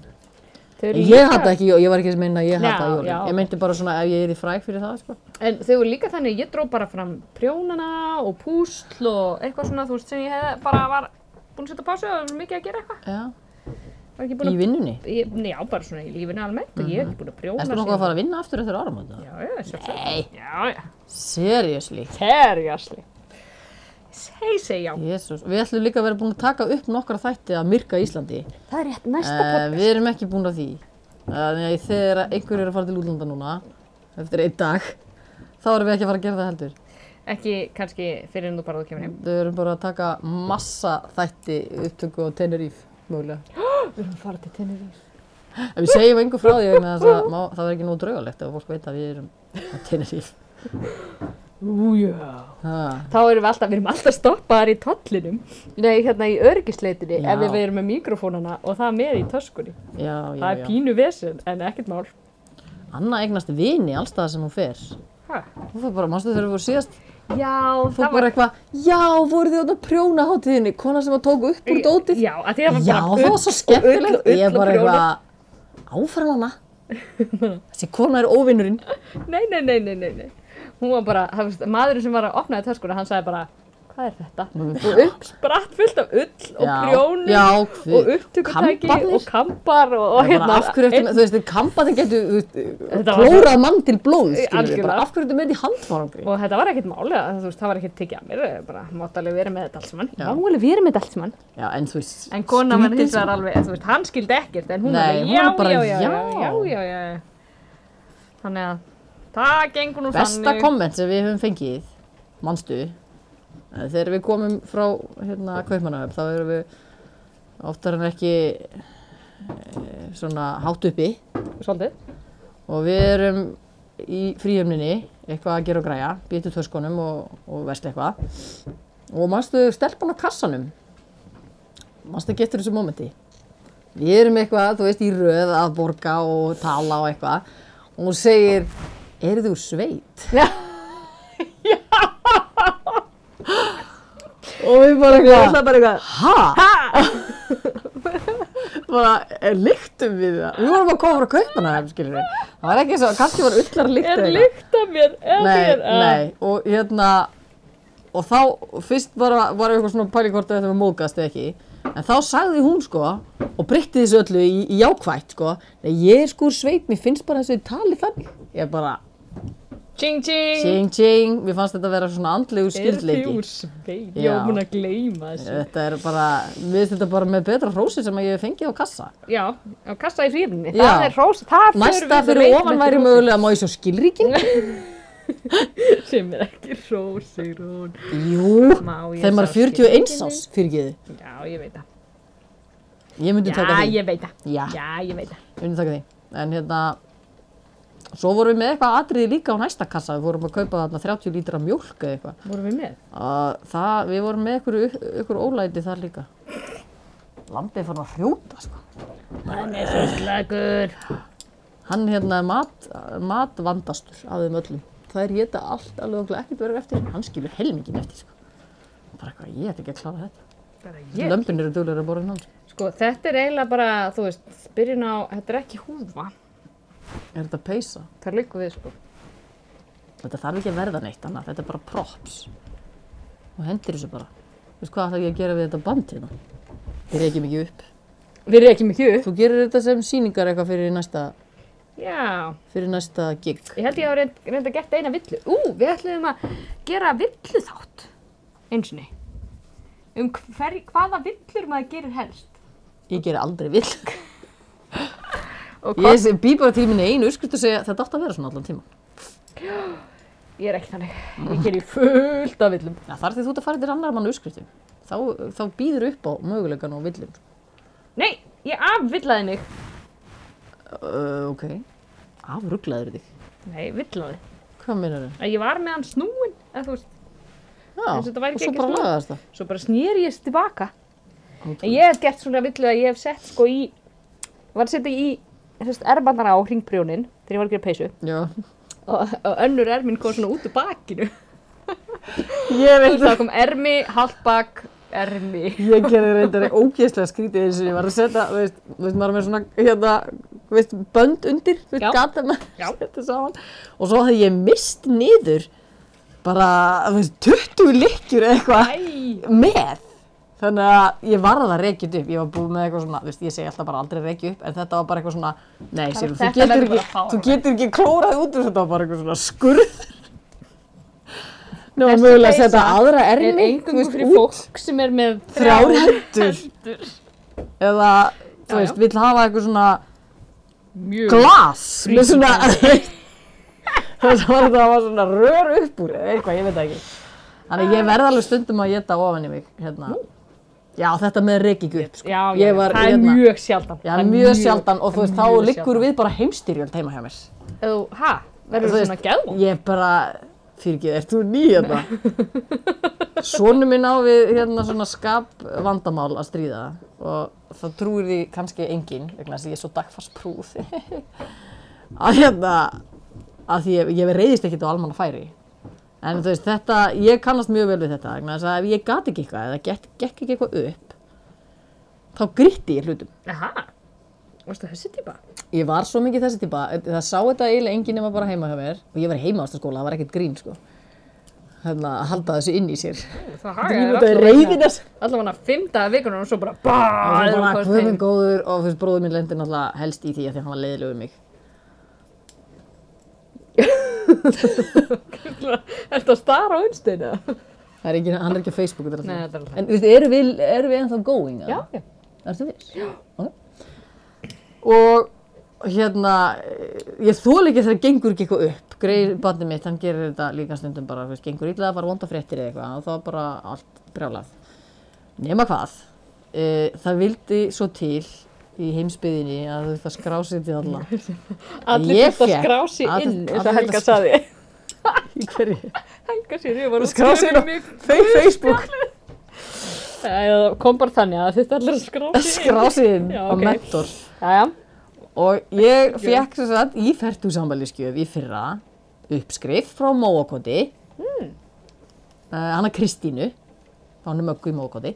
S2: Þau eru
S4: En
S2: líka-
S4: ég hata ekki jólin, ég var ekki að meina að ég hata
S2: Já,
S4: jólin.
S2: já.
S4: Ég meinti bara svona ef ég er í fræg fyrir það, sko.
S2: En þau eru líka þannig, ég dró bara fram prjónana og púsl og eitthvað svona, þú veist, sem ég hef bara var búin að setja pásu og það var svo mikið að gera eitthvað.
S4: Já.
S2: Var ekki búin
S4: Í
S2: að...
S4: vinnunni.
S2: Ég, nei, já, bara svona í lífinu almennt og ég hef ekki búin að prjóna
S4: Ertu nokkuð
S2: síðan-
S4: að fara að vinna aftur eftir árum á þetta?
S2: Já, já, sjálfsög. Nei. Já, já.
S4: Seriously.
S2: Serjasli. Seg, seg, já.
S4: Jésús. Við ætlum líka að vera búin að taka upp nokkra þætti að myrka Íslandi.
S2: Það er rétt næsta
S4: Uh, við erum ekki búin að því. Þannig að þegar einhver er að fara til útlanda núna, eftir einn dag, þá erum við ekki að fara að gera það heldur.
S2: Ekki kannski fyrir en þú bara þú kemur heim.
S4: Við erum bara að taka massa þætti upptöku á Tenerife, mögulega.
S2: Við erum farið til Tenerife.
S4: En við segjum engu frá því vegna þess að má, það verður ekki nóg draugalegt ef fólk veit að við erum á Tenerife. Újá.
S2: Þá erum við alltaf, við erum alltaf stoppaðar í tollinum. Nei, hérna í örgisleitinni
S4: Já.
S2: ef við erum með mikrofónana og það með í töskunni.
S4: Já, já,
S2: Það er
S4: já.
S2: pínu vesen, en ekkert mál.
S4: Anna eignast vini allstaðar sem hún fer.
S2: Ha.
S4: Hún fyrir bara, mannstu þegar við vorum síðast,
S2: Já,
S4: þú bara eitthvað, já, voruð þið á prjóna hátíðinni, kona sem að tóku upp úr dótið.
S2: Já, að því að
S4: Já,
S2: það
S4: það
S2: var
S4: var svo skemmtilegt.
S2: ull- ull
S4: Ég er
S2: og
S4: bara
S2: prjóna.
S4: eitthvað, áfram hana. Þessi kona er óvinnurinn.
S2: bara, nei, nei, nei, nei, nei, nei. Hún var bara, það veist, maðurinn sem var að opnaði töskuna, hann sagði bara, hvað er þetta? Og upp spratt fullt af ull og
S4: Mm. Já.
S2: prjónum
S4: Já,
S2: og
S4: guð.
S2: upptökutæki
S4: Kambarnir.
S2: og kampar og, og
S4: Og hérna,
S2: hérna.
S4: af hverju ertu með, þú veist, þeir kampaðin getur þú veist,
S2: Þetta var
S4: klórað mann til blóð, skilur við,
S2: Algjörlega.
S4: bara af hverju ertu með þetta í handfarangri?
S2: Og þetta var ekkert máli, að, þú veist, það var ekkert tekið að mér, ég bara mátt alveg vera með þetta allt saman.
S4: Já.
S2: Má alveg vera með þetta allt saman.
S4: Já, en þú veist,
S2: En konan var
S4: skrítið
S2: hins vegar
S4: sem-
S2: alveg, þú veist, hann skildi ekkert, en hún
S4: Nei,
S2: alveg,
S4: hún
S2: já,
S4: bara,
S2: já, já, já,
S4: já.
S2: já, já, já, já. Þannig að það gengur nú
S4: Besta
S2: þannig.
S4: komment sem við höfum fengið, manstu, eh, þegar við komum frá hérna Kaupmannahöfn, þá erum við oftar en ekki e, svona hátt uppi
S2: Svolítið.
S4: og við erum í fríhjöfninni, eitthvað að gera og græja, býtu töskunum og, og versla eitthvað. Og manstu stelpan á kassanum, manstu getur þessu mómenti. Við erum eitthvað, þú veist, í röð að borga og tala og eitthvað og hún segir, eru þú sveit?
S2: Já.
S4: og við bara eitthvað,
S2: bara eitthvað.
S4: hæ? Bara, eh, lyktum við það? Við vorum að koma frá Kaupmannahöfn, skilur við. Það var ekki svo, kannski var ullar lyktur
S2: Er lykt af mér, er
S4: nei,
S2: mér.
S4: nei, og hérna og þá fyrst bara var eitthvað svona pæling hvort þetta var móðgast eða ekki en þá sagði hún sko og breytti þessu öllu í, í jákvætt sko nei, ég er sko úr sveit, mér finnst bara þessu tali þannig ég bara
S2: Tjing tjing!
S4: Tjing tjing, mér fannst þetta að vera svona andlegu
S2: Er þið
S4: skildleiki.
S2: úr svein? Já,
S4: Já.
S2: búin að gleyma þessu.
S4: Þetta er bara, við þetta bara með betra hrósi sem að ég hef fengið á kassa.
S2: Já, og kasta í frífinni.
S4: Já.
S2: Það er hrós, það förum
S4: Næsta
S2: við
S4: fyrir
S2: reytum eftir
S4: ofan væri
S2: hrósi.
S4: mögulega má ég svo skilríkin.
S2: Sem er ekki hrós, Sigrún.
S4: Jú,
S2: Má ég
S4: þegar maður
S2: sjá
S4: er 41 ás, fyrir ekki þið.
S2: skilríkinin? Já, ég veit það.
S4: Ég myndi taka
S2: Já,
S4: Ah. því.
S2: ég veit það.
S4: Já,
S2: Já, ég veit það.
S4: ég myndi taka því. En hérna, svo vorum við með eitthvað atriði líka á næsta kassa. Við vorum að kaupa þarna 30 lítra mjólk eða eitthvað.
S2: Vorum við með?
S4: Að Það, við vorum með ykkur, ykkur ólæti þar líka. Lambið fann að hrjóta, sko.
S2: Hann er svo slagur.
S4: Hann hérna er mat, matvandastur af þeim öllum. Það er geta allt alveg okkur ekkert verið eftir. Hann skilur helmingin eftir, sko. Bara eitthvað, ég ætti ekki að klára þetta.
S2: Bara
S4: Yeah. Lömbin eru duglegur að borða en hann, sko.
S2: Sko, þetta er eiginlega bara, þú veist, byrjun á, þetta er ekki húfa.
S4: Er þetta peysa?
S2: Það liggur við, sko.
S4: Þetta þarf ekki að verða neitt annað. Þetta er bara props. Og hendir þessu bara. Þú veist hvað ætla ég að gera við þetta band hérna? Ég reykjum ekki upp.
S2: Við erum ekki mikið upp.
S4: Þú gerir þetta sem síningar eitthvað fyrir næsta,
S2: Já,
S4: fyrir næsta gig.
S2: ég held ég hafa reynd, reynd að gert eina villu. Ú, við ætlum að gera villu þátt. Einsinni. Um hver, hvaða villur maður gerir helst.
S4: Ég ger aldrei vill.
S2: Og hvað?
S4: Ég sé- bý bara til minni einu uskrift og segja þetta átt að vera svona allan tíma.
S2: Ég er ekki þannig. Ég gerir fullt af villum.
S4: Já, þar því þú ert að fara til annar mann úrskriftum. Þá, þá býður upp á mögulegan og villum.
S2: Nei, ég afvillaði mig.
S4: Uh, ok. Afruglaður þig.
S2: Nei, villaði.
S4: Hvað meinar þau?
S2: Að Ég var með hann snúin, eða þú veist.
S4: Já,
S2: Eins og þetta væri
S4: og
S2: ekki
S4: svo
S2: ekki
S4: bara
S2: smá.
S4: lagaðast það.
S2: Svo bara snýr ég tilbaka. En
S4: Ótrúlegt.
S2: ég hef gert svona villu að ég hef sett sko í, var að setja í sérst, ermandana á hringprjónin þegar ég var að gera peysu
S4: Já.
S2: og, og önnur ermin kom svona út úr bakinu. Þú
S4: Ég
S2: veist það kom ermi, halvbak, ermi.
S4: Ég gerði reyndar ógeðslega skrítið eins og ég var að setja, þú veist, þú veist, maður er með svona, hérna, þú veist, bönd undir, þú veist,
S2: Já.
S4: gata maður
S2: Já.
S4: að setja saman. Og svo hafði ég mist niður bara, þú veist, 20 lykkjur eða eitthvað
S2: Æ,
S4: með. Þannig að ég varð að reykja þetta upp, ég var búin með eitthvað svona, þú veist, ég segi alltaf bara aldrei reykja upp, en þetta var bara eitthvað svona, nei, sér, þú
S2: þetta
S4: getur
S2: verður
S4: ekki,
S2: bara fáránlegt.
S4: þú getur ekki klórað út úr þetta, var bara eitthvað svona skurð. Nú,
S2: Þessi
S4: mögulega að
S2: peysa
S4: setja aðra
S2: er
S4: ermi, þú
S2: einhverjum
S4: veist,
S2: fyrir
S4: út
S2: fólk sem er með
S4: þrjár hendur eða þú
S2: Já,
S4: veist,
S2: já.
S4: vill hafa eitthvað svona
S2: mjög.
S4: glas með svona þess að var þetta var svona rör upp úr eh. eða eitthvað, ég veit það ekki þannig að ég verð alveg stundum að geta ofan í mig hérna. já, þetta með reykíku upp sko.
S2: Já, já,
S4: Ég var
S2: það er
S4: hérna-
S2: mjög sjaldan.
S4: já, mjög, sjaldan og þú veist, þá liggur við bara heimstyrjöld heima hjá mér
S2: Þú, hæ, verður
S4: Þú
S2: þú
S4: veist,
S2: svona gæðum?
S4: Ég bara, fyrir ekki, ert þú nýja þetta? Sónu minn á við hérna svona skap vandamál að stríða og það trúir því kannski enginn, vegna þess að ég er svo dagfarsprúð að hérna að því ég, ég reyðist ekkert á almanna færi en þú veist, þetta, ég kannast mjög vel við þetta vegna þess að ef ég gat ekki eitthvað eða gekk, gekk ekki eitthvað upp þá gritti ég hlutum
S2: Aha, varstu þessi típa?
S4: Ég var svo mikið þessi típa, það sá þetta eiginlega enginn nema bara heima hjá mér og ég var í heimaástaskóla, það var ekkert grín sko. Þannig að halda þessu inn í sér.
S2: Það
S4: Grín út af
S2: hérna.
S4: reyðina sem
S2: Allavega fimm dagar vikunum og svo bara BAAAAA
S4: var bara guðminn góður og fyrst bróður minn lendi náttúrulega helst í því að því að hann var leiðilegur mig.
S2: Ertu að stara á unnsteinu?
S4: Það er ekki, hann er ekki á Facebooku þetta
S2: Nei, þetta er alveg
S4: En þú veist, eru við, eru við ennþá going? eða?
S2: Já, já.
S4: Ertu viss? Já. Og hérna, ég þól ekki þegar gengur ekki eitthvað upp. Greið bandi mitt, hann gerir þetta líka stundum bara, þú veist, gengur illa að fara vonda fréttir eða eitthvað og þá er bara allt brjálað. Nema hvað, e, það vildi svo til í heimsbyðinni að þú veist að skrásiði alla.
S2: Allir
S4: Ég
S2: þurft að
S4: fékk-
S2: skrá sig
S4: allir-
S2: inn, eins og
S4: allir
S2: Helga
S4: þurftu að-
S2: saði.
S4: Í hverju?
S2: Helga sér, ég var að
S4: Skrá sig inn á fe- Facebook.
S2: Það kom bara þannig að þetta allir að skrá sig inn.
S4: Skrásiði inn
S2: Já,
S4: á
S2: ok.
S4: mentor.
S2: Jæja,
S4: Og ég fekk sem sagt í fertugsamvælisgjöf í fyrra uppskrif frá Móakoti, mm. uh, hana Kristínu, þá hann er möggu í Móakoti,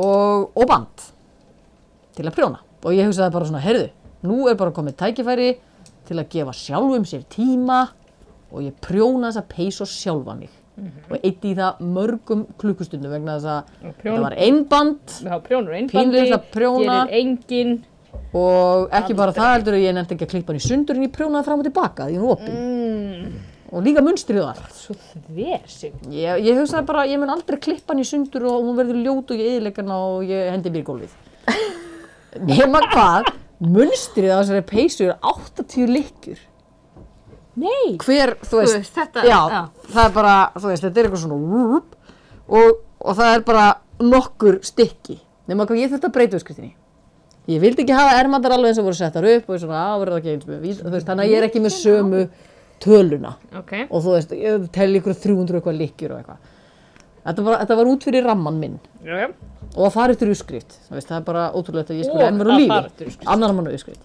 S4: og, og band til að prjóna. Og ég hugsaði bara svona, heyrðu, nú er bara komið tækifæri til að gefa sjálfum sér tíma og ég prjóna þessa peysu sjálfa mig. Og eitt í það mörgum klukkustundum vegna þess að
S2: prjón-
S4: þetta var einband
S2: við hafa prjónur
S4: Pínlegt
S2: einnfandi,
S4: að prjóna.
S2: gerir engin.
S4: Og ekki bara það heldur að ég nefndi ekki að klippa hann í sundur en ég prjónaði fram og tilbaka því hún var opinn.
S2: Mm,
S4: og líka munstrið og allt.
S2: Svo þversing.
S4: Ég, ég hugsaði bara, ég mun aldrei klippa hann í sundur og hún verður ljót og ég eðileggan og ég hendi mér í gólfið. Nema hvað, munstrið á þessari peysu er 80 lykkjur.
S2: Nei!
S4: Hver, þú veist,
S3: veist, þetta-
S4: já,
S3: já.
S4: það er bara, þú veist, þetta er eitthvað svona rúp, og, og það er bara nokkur stykki. Nema hvað, ég þurfti að breyta uppskriftinni. Ég vildi ekki hafa ermandar alveg eins og voru settar upp og svona, að verða ekki eins með, vís- þú veist, þannig að ég er ekki með sömu töluna
S2: Ok.
S4: og þú veist, ég telli ykkur 300 eitthvað lykkjur og eitthvað. Þetta, bara, þetta var út fyrir ramman minn
S2: Já, já.
S4: og að fara eftir uppskrift. Þú veist, það er bara ótrúlegt að ég
S2: Og
S4: skuli enn vera á
S2: að fara eftir
S4: lífi,
S2: uppskrift.
S4: annar mann á uppskrift.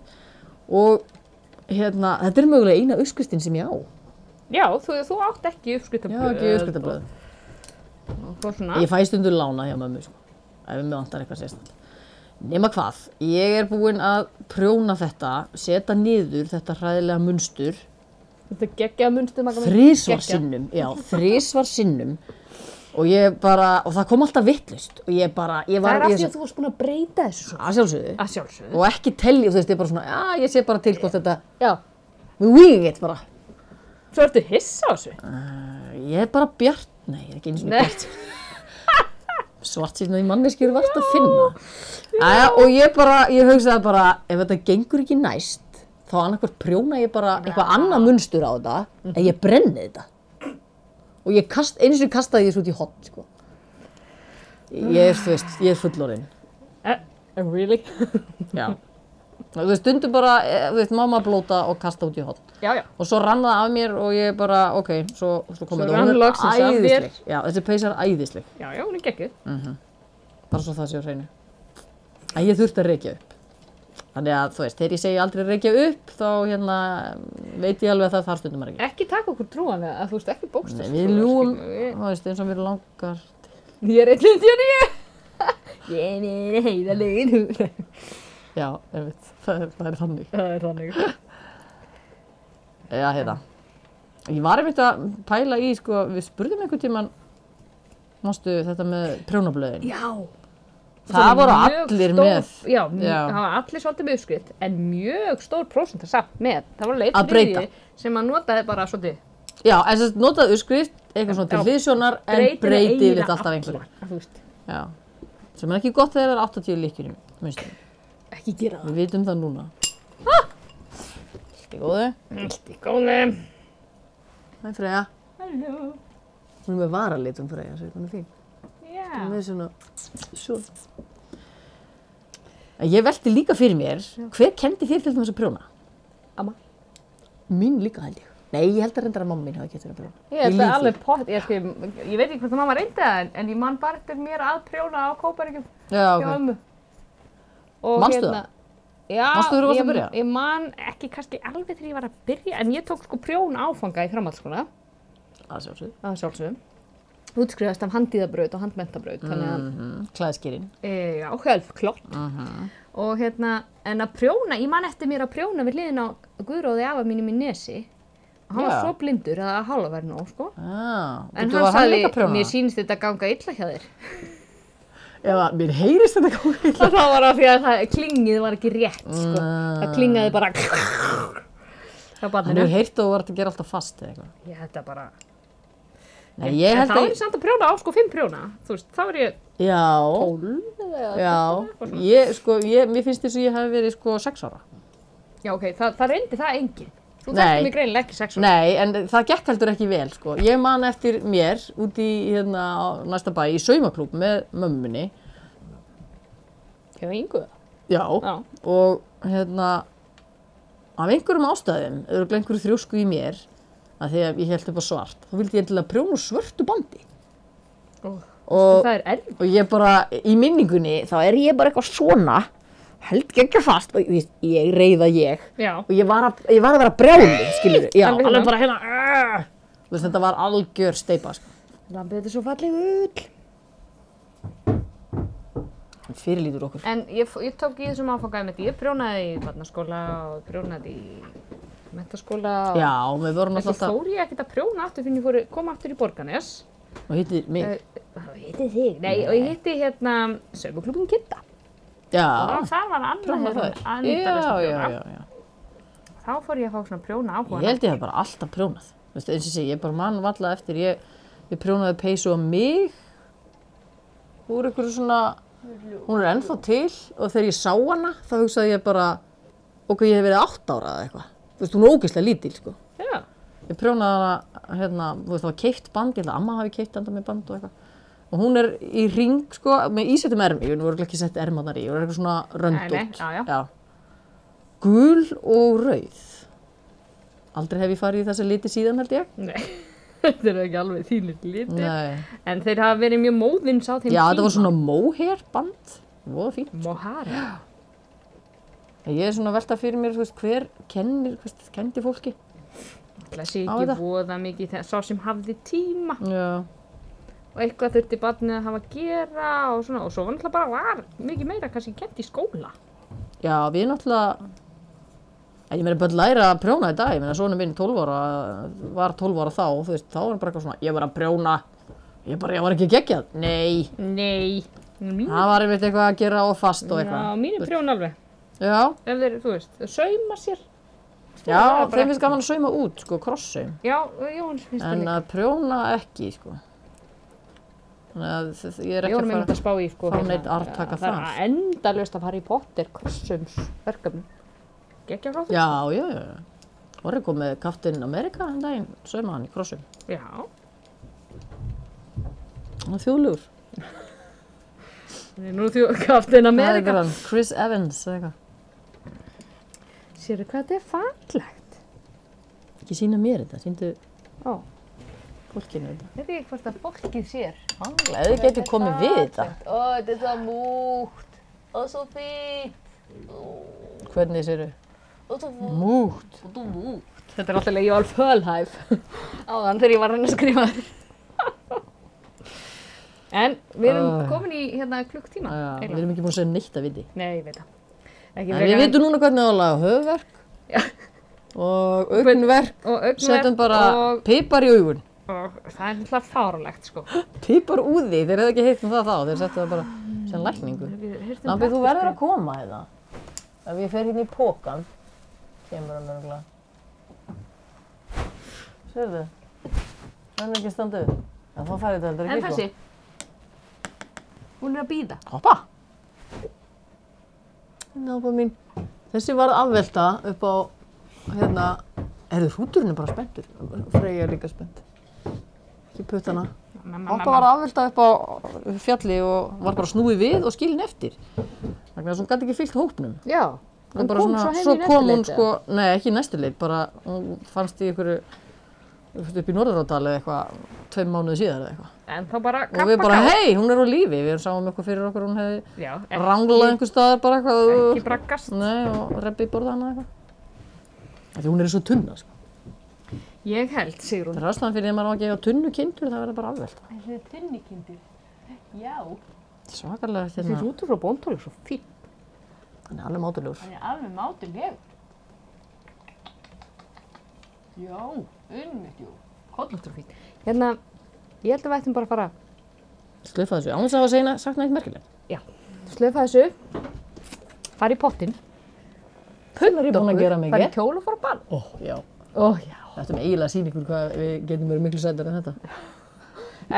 S4: Og hérna, þetta er mögulega eina uppskriftin sem ég á.
S2: Já, þú, þú átt ekki
S4: Já,
S2: uppskriftablöð.
S4: ekki uppskriftablöð.
S2: og eitthvað svona.
S4: Ég fæ stundur lána hjá mömmu, sko. Ef mér vantar eitthvað sérstall. Nema hvað, ég er búin að prjóna þetta, setja niður þetta hræðilega munstur
S2: Þetta er geggjað munstu maga
S4: þrísvar sinnum, já, þrísvar sinnum og ég bara, og það kom alltaf vittlust og ég bara, ég
S2: Það
S4: var
S2: er af
S4: ég
S2: því að þú varst búin að Ah. breyta þessu svo.
S4: að sjálfsögðu
S2: Að sjálfsögðu.
S4: og ekki telja, þú veist, ég bara svona, já, ég sé bara til hvort þetta,
S2: Já.
S4: við vígum eitt bara
S2: Svo ertu hissa á þessu.
S4: ég er bara bjart, nei, ég er ekki eins og
S2: Nei.
S4: bjart svart síðan að ég manneskjur varst að finna Æja, og ég bara, ég hugsaði bara ef þetta gengur ekki næst þá annarkvort prjóna ég bara eitthvað annað munstur á þetta en ég brenni þetta og ég kast, eins og kastaði ég þessu út í hot sko. ég er, þú veist, ég er fullorinn
S2: Eh, really?
S4: já þú veist, stundum bara, eh, þú veist, mamma blóta og kasta út í hot
S2: já, já.
S4: og svo rann það af mér og ég bara, ok, svo, svo kom
S2: Svo
S4: þetta
S2: rann
S4: Hún er
S2: loksins af þér.
S4: æðisleg. Já, þessi peysa er æðisleg,
S2: Já, já, hún er geggjuð.
S4: Mm. bara svo það sé á hreinu. En ég þurfti að reykja upp. Þannig að, þú veist, þegar ég segi aldrei reykja upp, þá hérna veit ég alveg að það þarf stundum að reykja.
S2: Ekki taka okkur trúan við að þú veist ekki bókstast.
S4: Nei, við ljúum, þú veist, eins og við langar.
S2: Ég er eitthvað til ég. Ég er heiðalegin húr.
S4: Já, ég veit, það er, það er þannig.
S2: Það er þannig.
S4: Já, hérna. Ég var einmitt að pæla í, sko, við spurðum einhvern tíman, mástu þetta með prjónablöðin.
S2: Já.
S4: Það voru
S2: mjög
S4: allir
S2: stór,
S4: með.
S2: Já, mj-
S4: Já.
S2: það var allir svolítið með uppskrift, en mjög stór prósent að samt með. Það voru leitt
S4: Að breyta.
S2: sem að notaði bara svolítið.
S4: Já, en þess að notaðu skrift, eitthvað svona til
S2: Já.
S4: hliðsjónar, en
S2: breytir
S4: breyti
S2: eiginlega
S4: yfirleitt alltaf einhverju.
S2: alla, þú veist.
S4: Já, sem er ekki gott þegar það er 80 líkjur í munstum.
S2: Ekki gera það.
S4: Við vitum það núna. Allt í góðu.
S2: Mm. Allt í góðum.
S4: Það er Freyja.
S2: Halló.
S4: Hún er með varalitum Freyja, svo hún er fín.
S2: Já.
S4: Hún er með svona, svo. En ég velti líka fyrir mér, hver kendi þér til þess að prjóna?
S2: Amma.
S4: Mín líka held ég. Nei, ég held að reyndar að mamma mín hafi gett þér að prjóna.
S2: Ég held
S4: lýg
S2: að
S4: því.
S2: alveg pott, ég, sko, ég veit ekki hvort að mamma reyndi það en, en ég man bara eftir mér að prjóna á kóparíkjum
S4: Já,
S2: hjá
S4: ok.
S2: ömmu. Og hérna-
S4: Manstu það?
S2: Já,
S4: Manstu þegar þú varst að
S2: ég-
S4: byrja?
S2: Ég man ekki kannski alveg þegar ég var að byrja en ég tók sko prjón áfanga í framhaldsskóla,
S4: Það sjá svo.
S2: að sjálfsögum. Útskriðast af handíðabraut og handmentabraut, þannig að,
S4: Klæðskýrin.
S2: e, já, helf, klott. Og hérna, en að prjóna, ég man eftir mér að prjóna við hliðin á Guðróði afa mínum í Nesi. Og hann
S4: Já.
S2: var svo blindur að það hálfa verið nóg, sko.
S4: Ah,
S2: En
S4: bíddu,
S2: hann
S4: var
S2: sagði,
S4: líka að prjóna
S2: mér
S4: það?
S2: sýnist þetta ganga illa hjá þér.
S4: Ef að mér heyrist þetta komið illa.
S2: Það var af því að það, klingið var ekki rétt, sko. Það klingaði bara... Það
S4: Þannig
S2: barninu.
S4: að ég heyrti að þú vart að gera alltaf fast eða eitthvað.
S2: Ég þetta bara...
S4: Nei, ég
S2: En
S4: held
S2: þá
S4: að...
S2: er ég samt að prjóna á, sko, fimm prjóna. Þú veist, þá er ég...
S4: Já, já. Ég, sko, ég, mér finnst þess að ég hef verið sko sex ára.
S2: Já, ok, það, það reyndi það enginn. Þú
S4: Nei.
S2: þekkti mig greinilega ekki sex ára.
S4: Nei, en það gekk heldur ekki vel sko. Ég man eftir mér út í hérna á næsta bæ í saumaklúb með mömmunni.
S2: Hjá yngu það.
S4: Já.
S2: Já.
S4: Og hérna, af einhverjum ástæðum, auðvitað einhverju þrjósku í mér, að því að ég held upp á svart, þá vildi ég endilega prjóna úr svörtu bandi.
S2: Ó,
S4: Og,
S2: Það er erfið.
S4: og ég bara, í minningunni, þá er ég bara eitthvað svona, held geggja fast, og ég, ég reyða ég.
S2: Já.
S4: og ég var að, ég var að vera brjáli, skilur við, já,
S2: Alveg
S4: alveg,
S2: hérna.
S4: bara hérna, aah. þú veist, þetta var algjör steipa, sko.
S2: Lambið þetta er svo fallið ull.
S4: Hann fyrirlítur okkur.
S2: En ég, f- ég tók í þessum áfangaði með því. Ég prjónaði í barnaskóla og prjónaði í mentaskóla og...
S4: Já, við vorum
S2: En svo
S4: alltaf,
S2: fór ég ekkert að prjóna aftur fyrir ég fór, kom aftur í Borgarnes.
S4: og hittir mig,
S2: Það hitti þig. Nei, og ég hitti hérna sömuklubum Kitta.
S4: já,
S2: Og það var annað
S4: það
S2: hérna
S4: er, Ah. já,
S2: andarast að
S4: já,
S2: prjóna.
S4: já, já,
S2: Þá fór ég að fá svona prjóna áhuga.
S4: ég held ég hef bara alltaf prjónað. Þú veist, eins og sé, ég bara mann valla eftir, ég, ég prjónaði peysu á mig úr einhverju svona, hún er ennþá til og þegar ég sá hana þá hugsaði ég bara, ok, ég hef verið átt ára eða eitthvað. Þú veist, hún er ógeðslega lítil, sko.
S2: Já.
S4: Ég prjónaði hana, hérna, þú veist, það var keitt band, ég held að amma hafi keitt enda með band og eitthvað. Og hún er í ring, sko, með ísettum ermi, ég voru ekki sett ermanar í, ég voru eitthvað svona röndótt.
S2: Nei, nei, já, já.
S4: Gul og rauð. Aldrei hef ég farið í þessa liti síðan, held ég.
S2: Nei. Þetta eru ekki alveg þínir litir.
S4: Nei.
S2: En þeir hafa verið mjög móðins á þeim
S4: Já, þetta var svona mohair band. Voða fín.
S2: Mohara.
S4: Ég er svona að velta fyrir mér, þú veist, hver kennir, þú veist, kendi fólki.
S2: Það sé
S4: Á
S2: ekki
S4: þetta.
S2: voða mikið þegar sá sem hafði tíma
S4: Já.
S2: og eitthvað þurfti barnið að hafa að gera og svona og svo var náttúrulega bara var mikið meira kannski kent í skóla.
S4: Já, við náttúrulega, En ég meina bara læra að prjóna í dag, ég meina svona minn 12 ára, var 12 ára þá, þú veist, þá var hann bara eitthvað svona, ég var að prjóna, ég bara, ég var ekki geggjað. Nei,
S2: Nei. Mín,
S4: það var einmitt eitthvað að gera og fast og
S2: já,
S4: eitthvað.
S2: mínu prjón alveg.
S4: Já,
S2: Ef þeir, þú veist, þau sauma sér.
S4: já,
S2: það er bara
S4: þeim finnst gaman að sauma út, sko, krossaum.
S2: Já, Jóns finnst það
S4: En uh,
S2: líka.
S4: að prjóna ekki, sko. Þannig að þ- þ- ég er
S2: Við
S4: ekki
S2: vorum
S4: að
S2: einmitt að
S4: fara.
S2: spá í sko.
S4: fá neitt
S2: það.
S4: arftaka þar.
S2: Það er endalaust að Harry Potter krossums verkefni. Gekja frá því?
S4: Já, já, já. já. Orri kom með Captain America þann daginn, sauma hann í krossum.
S2: Já.
S4: Hann er þjóðlugur.
S2: Nú er því að kaftin
S4: Hvað er
S2: Amerika.
S4: hann? Chris Evans, eða eitthvað.
S2: Sérðu hvað þetta er fallegt?
S4: Ekki sína mér þetta, síndu
S2: Ó,
S4: fólkinu þetta.
S3: Veit ekki hvort að fólkið sér.
S4: Ef þið getur komið við þetta,
S3: Ó, þetta er svo múkt. Og svo fínt.
S4: hvernig þið eru?
S3: Og svo múkt.
S4: Mútt.
S3: Og þú múkt.
S2: þetta er náttúrulega Jól Fölhæf.
S3: Áðan þegar ég var að reyna að skrifa þér.
S2: En við erum
S4: Æ.
S2: komin í hérna klukktíma.
S4: Já, við
S2: eiginlega.
S4: erum ekki búin að segja neitt að viti.
S2: Nei, ég veit það. Ekki
S4: En við
S2: frekar en-
S4: vitum núna hvernig það á að laga höfverk
S2: Já.
S4: og augnverk.
S2: og augnverk
S4: Setjum bara
S2: og,
S4: pipar í augun.
S2: og það er náttúrulega fárulegt sko.
S4: Pipar úði, þeir hefðu ekki heitt um það þá, þeir settu það bara sem lækningu. Lambi, þú
S2: sko.
S4: verður að koma hérna. Ef ég fer hérna í pókan, kemur hann örgulega. Sérðu? Hann er ekki að standa upp. En þá færði þetta heldur
S3: En
S4: ekki
S3: þessi? Hún er að býða.
S4: Hoppa! Hérna hoppa mín. Þessi var afvelta upp á, hérna, erðu hrúturinn er bara spenntur. Freyja er líka spennt. Ekki puttana. Hoppa var afvelta upp á fjalli og var bara snúið við og skilin eftir. Þannig að hún gæti ekki fyllt hópnum.
S2: Já,
S4: Hún bara
S2: kom
S4: svona,
S2: svo heim
S4: svo
S2: í
S4: kom hún
S2: næsturleiti,
S4: sko, nei ekki í næstu leit, bara hún fannst í ykkur upp í Norðurárdal eða eitthvað, tveim mánuði síðar eða eitthvað.
S2: en þá bara kappa
S4: Og við bara, hei, hún er á lífi, við sáum eitthvað fyrir okkur, hún hefði
S2: Já,
S4: ranglað einhver staðar bara eitthvað.
S2: ekki braggast.
S4: Nei, og reppi borða hana eitthvað. Af Því hún er svo tunna, sko.
S2: Ég held, sigur hún.
S4: Það er ástæðan fyrir því að maður á ekki að gefa tunnu kindur, það verður bara afvelta.
S3: Þetta er tunnikindur. Já.
S4: Svakarlega eftir
S2: Þessi
S4: hérna.
S2: rútur frá bóntóli er svo fín.
S4: Hann er alveg mátulegur.
S3: Hann er alveg mátulegur. Já, unnmitt, jú. Kollóttur fínt.
S2: Hérna, ég held að við ættum bara að fara að
S4: Sluffa þessu, án þess að hafa segna, sagt neitt merkilegt.
S2: slöfa þessu, fara í pottinn,
S4: Punnar ég búin að gera
S2: fara í
S4: mikið.
S2: kjól og fara að ball.
S4: Ó, já.
S2: Ó, já.
S4: Þetta er með eiginlega sýningur hvað við getum verið miklu sættar en þetta.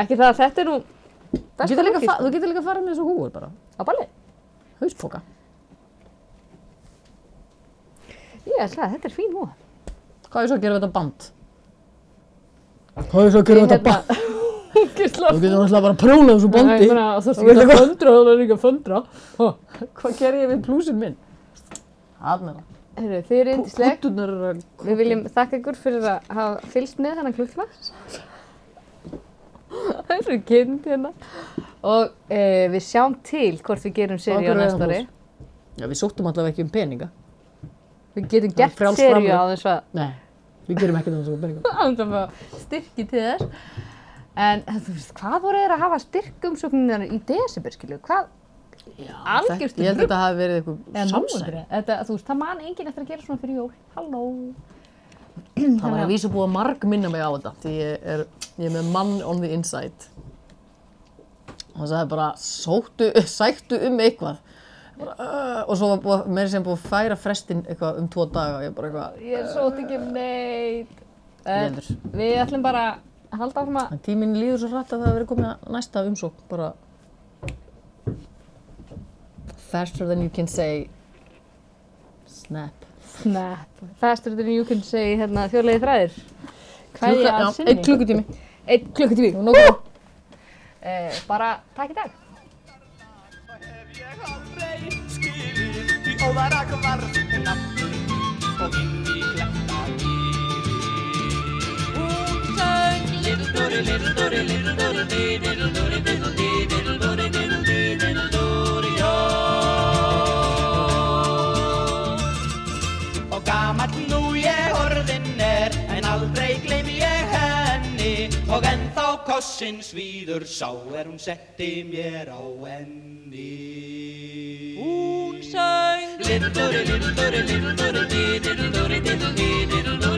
S2: Ekki það að þetta er nú
S4: Þú
S2: besta
S4: getur líka,
S2: fólkið,
S4: fa- þú getur líka farið með þessu húur bara.
S2: sko, á ballið.
S4: Hauspoka.
S2: Ég held að þetta er fín húða.
S4: Hvað er svo að gera við þetta band? Hvað er svo að gera
S2: hérna-
S4: við þetta band?
S2: Gísla.
S4: Þú getur náttúrulega bara að prjóna þessu bandi.
S2: þú þarfst ekki að föndra, þú þarfst ekki að föndra.
S4: Hvað ger ég við plúsin minn? Aðmenna.
S2: Heyrðu, þið eru yndisleg.
S4: Pútunar eru að
S2: Við viljum þakka ykkur fyrir að hafa fylgst með hennan klukktíma. Það er svo kynnt hérna. Og e, við sjáum til hvort við gerum seríu á
S4: Okkur er
S2: næsta
S4: það
S2: ári.
S4: Já, við sóttum allavega ekki um peninga.
S2: Við getum
S4: Það er
S2: gert
S4: frjáls
S2: seríu á
S4: framlag.
S2: þess að
S4: Nei, við gerum ekkert um þessu peninga.
S2: án þess að fá styrki til þess. En þú veist, hvað voru þeir að hafa styrkumsóknir í desember, skilju? Hvað? Algjörst
S4: Ég held að þetta hafi verið eitthvað samsæk.
S2: Þetta, þú veist, það man enginn eftir að gera svona fyrir jól. Halló.
S4: Það var að vísu búið að marg minna mig á þetta. Því ég er, ég er með mann on the inside. Og það er bara, sóttu, sættu um eitthvað. Bara, uh, og svo var búið, að- meira sem búið að færa frestinn eitthvað um tvo daga. Ég bara eitthvað,
S2: Ég sótt ekki um neitt. En
S4: Veður.
S2: Við ætlum bara að halda áfram að
S4: En tíminn líður svo hratt að það verður komið að næsta umsókn bara faster than you can say snap
S2: snap. Faster than you can say hérna þjóðlegi þræðir. Hvað er
S4: Klukka-
S2: að
S4: já,
S2: sinni?
S4: einn klukkutími
S2: Einn klukkutími.
S4: og nokkuð
S2: Eh, bara takk í dag.
S1: Hef ég aldrei skilið því óðara kvart nafni og inn í kletta gíri. Hún söng Little Dory, Little Dory, Little Dory, Dee, Little Dory, Little Dee, Little Dory, Little Dee, Little Dory, já. Og gamall nú ég orðin er, en aldrei gleymi ég henni og ennþá kossins víður sá er hún setti mér á enni. Hún söng Little Dory, Little Dory, Little Dory, Dee, Little Dory, Little Dee, Little Dory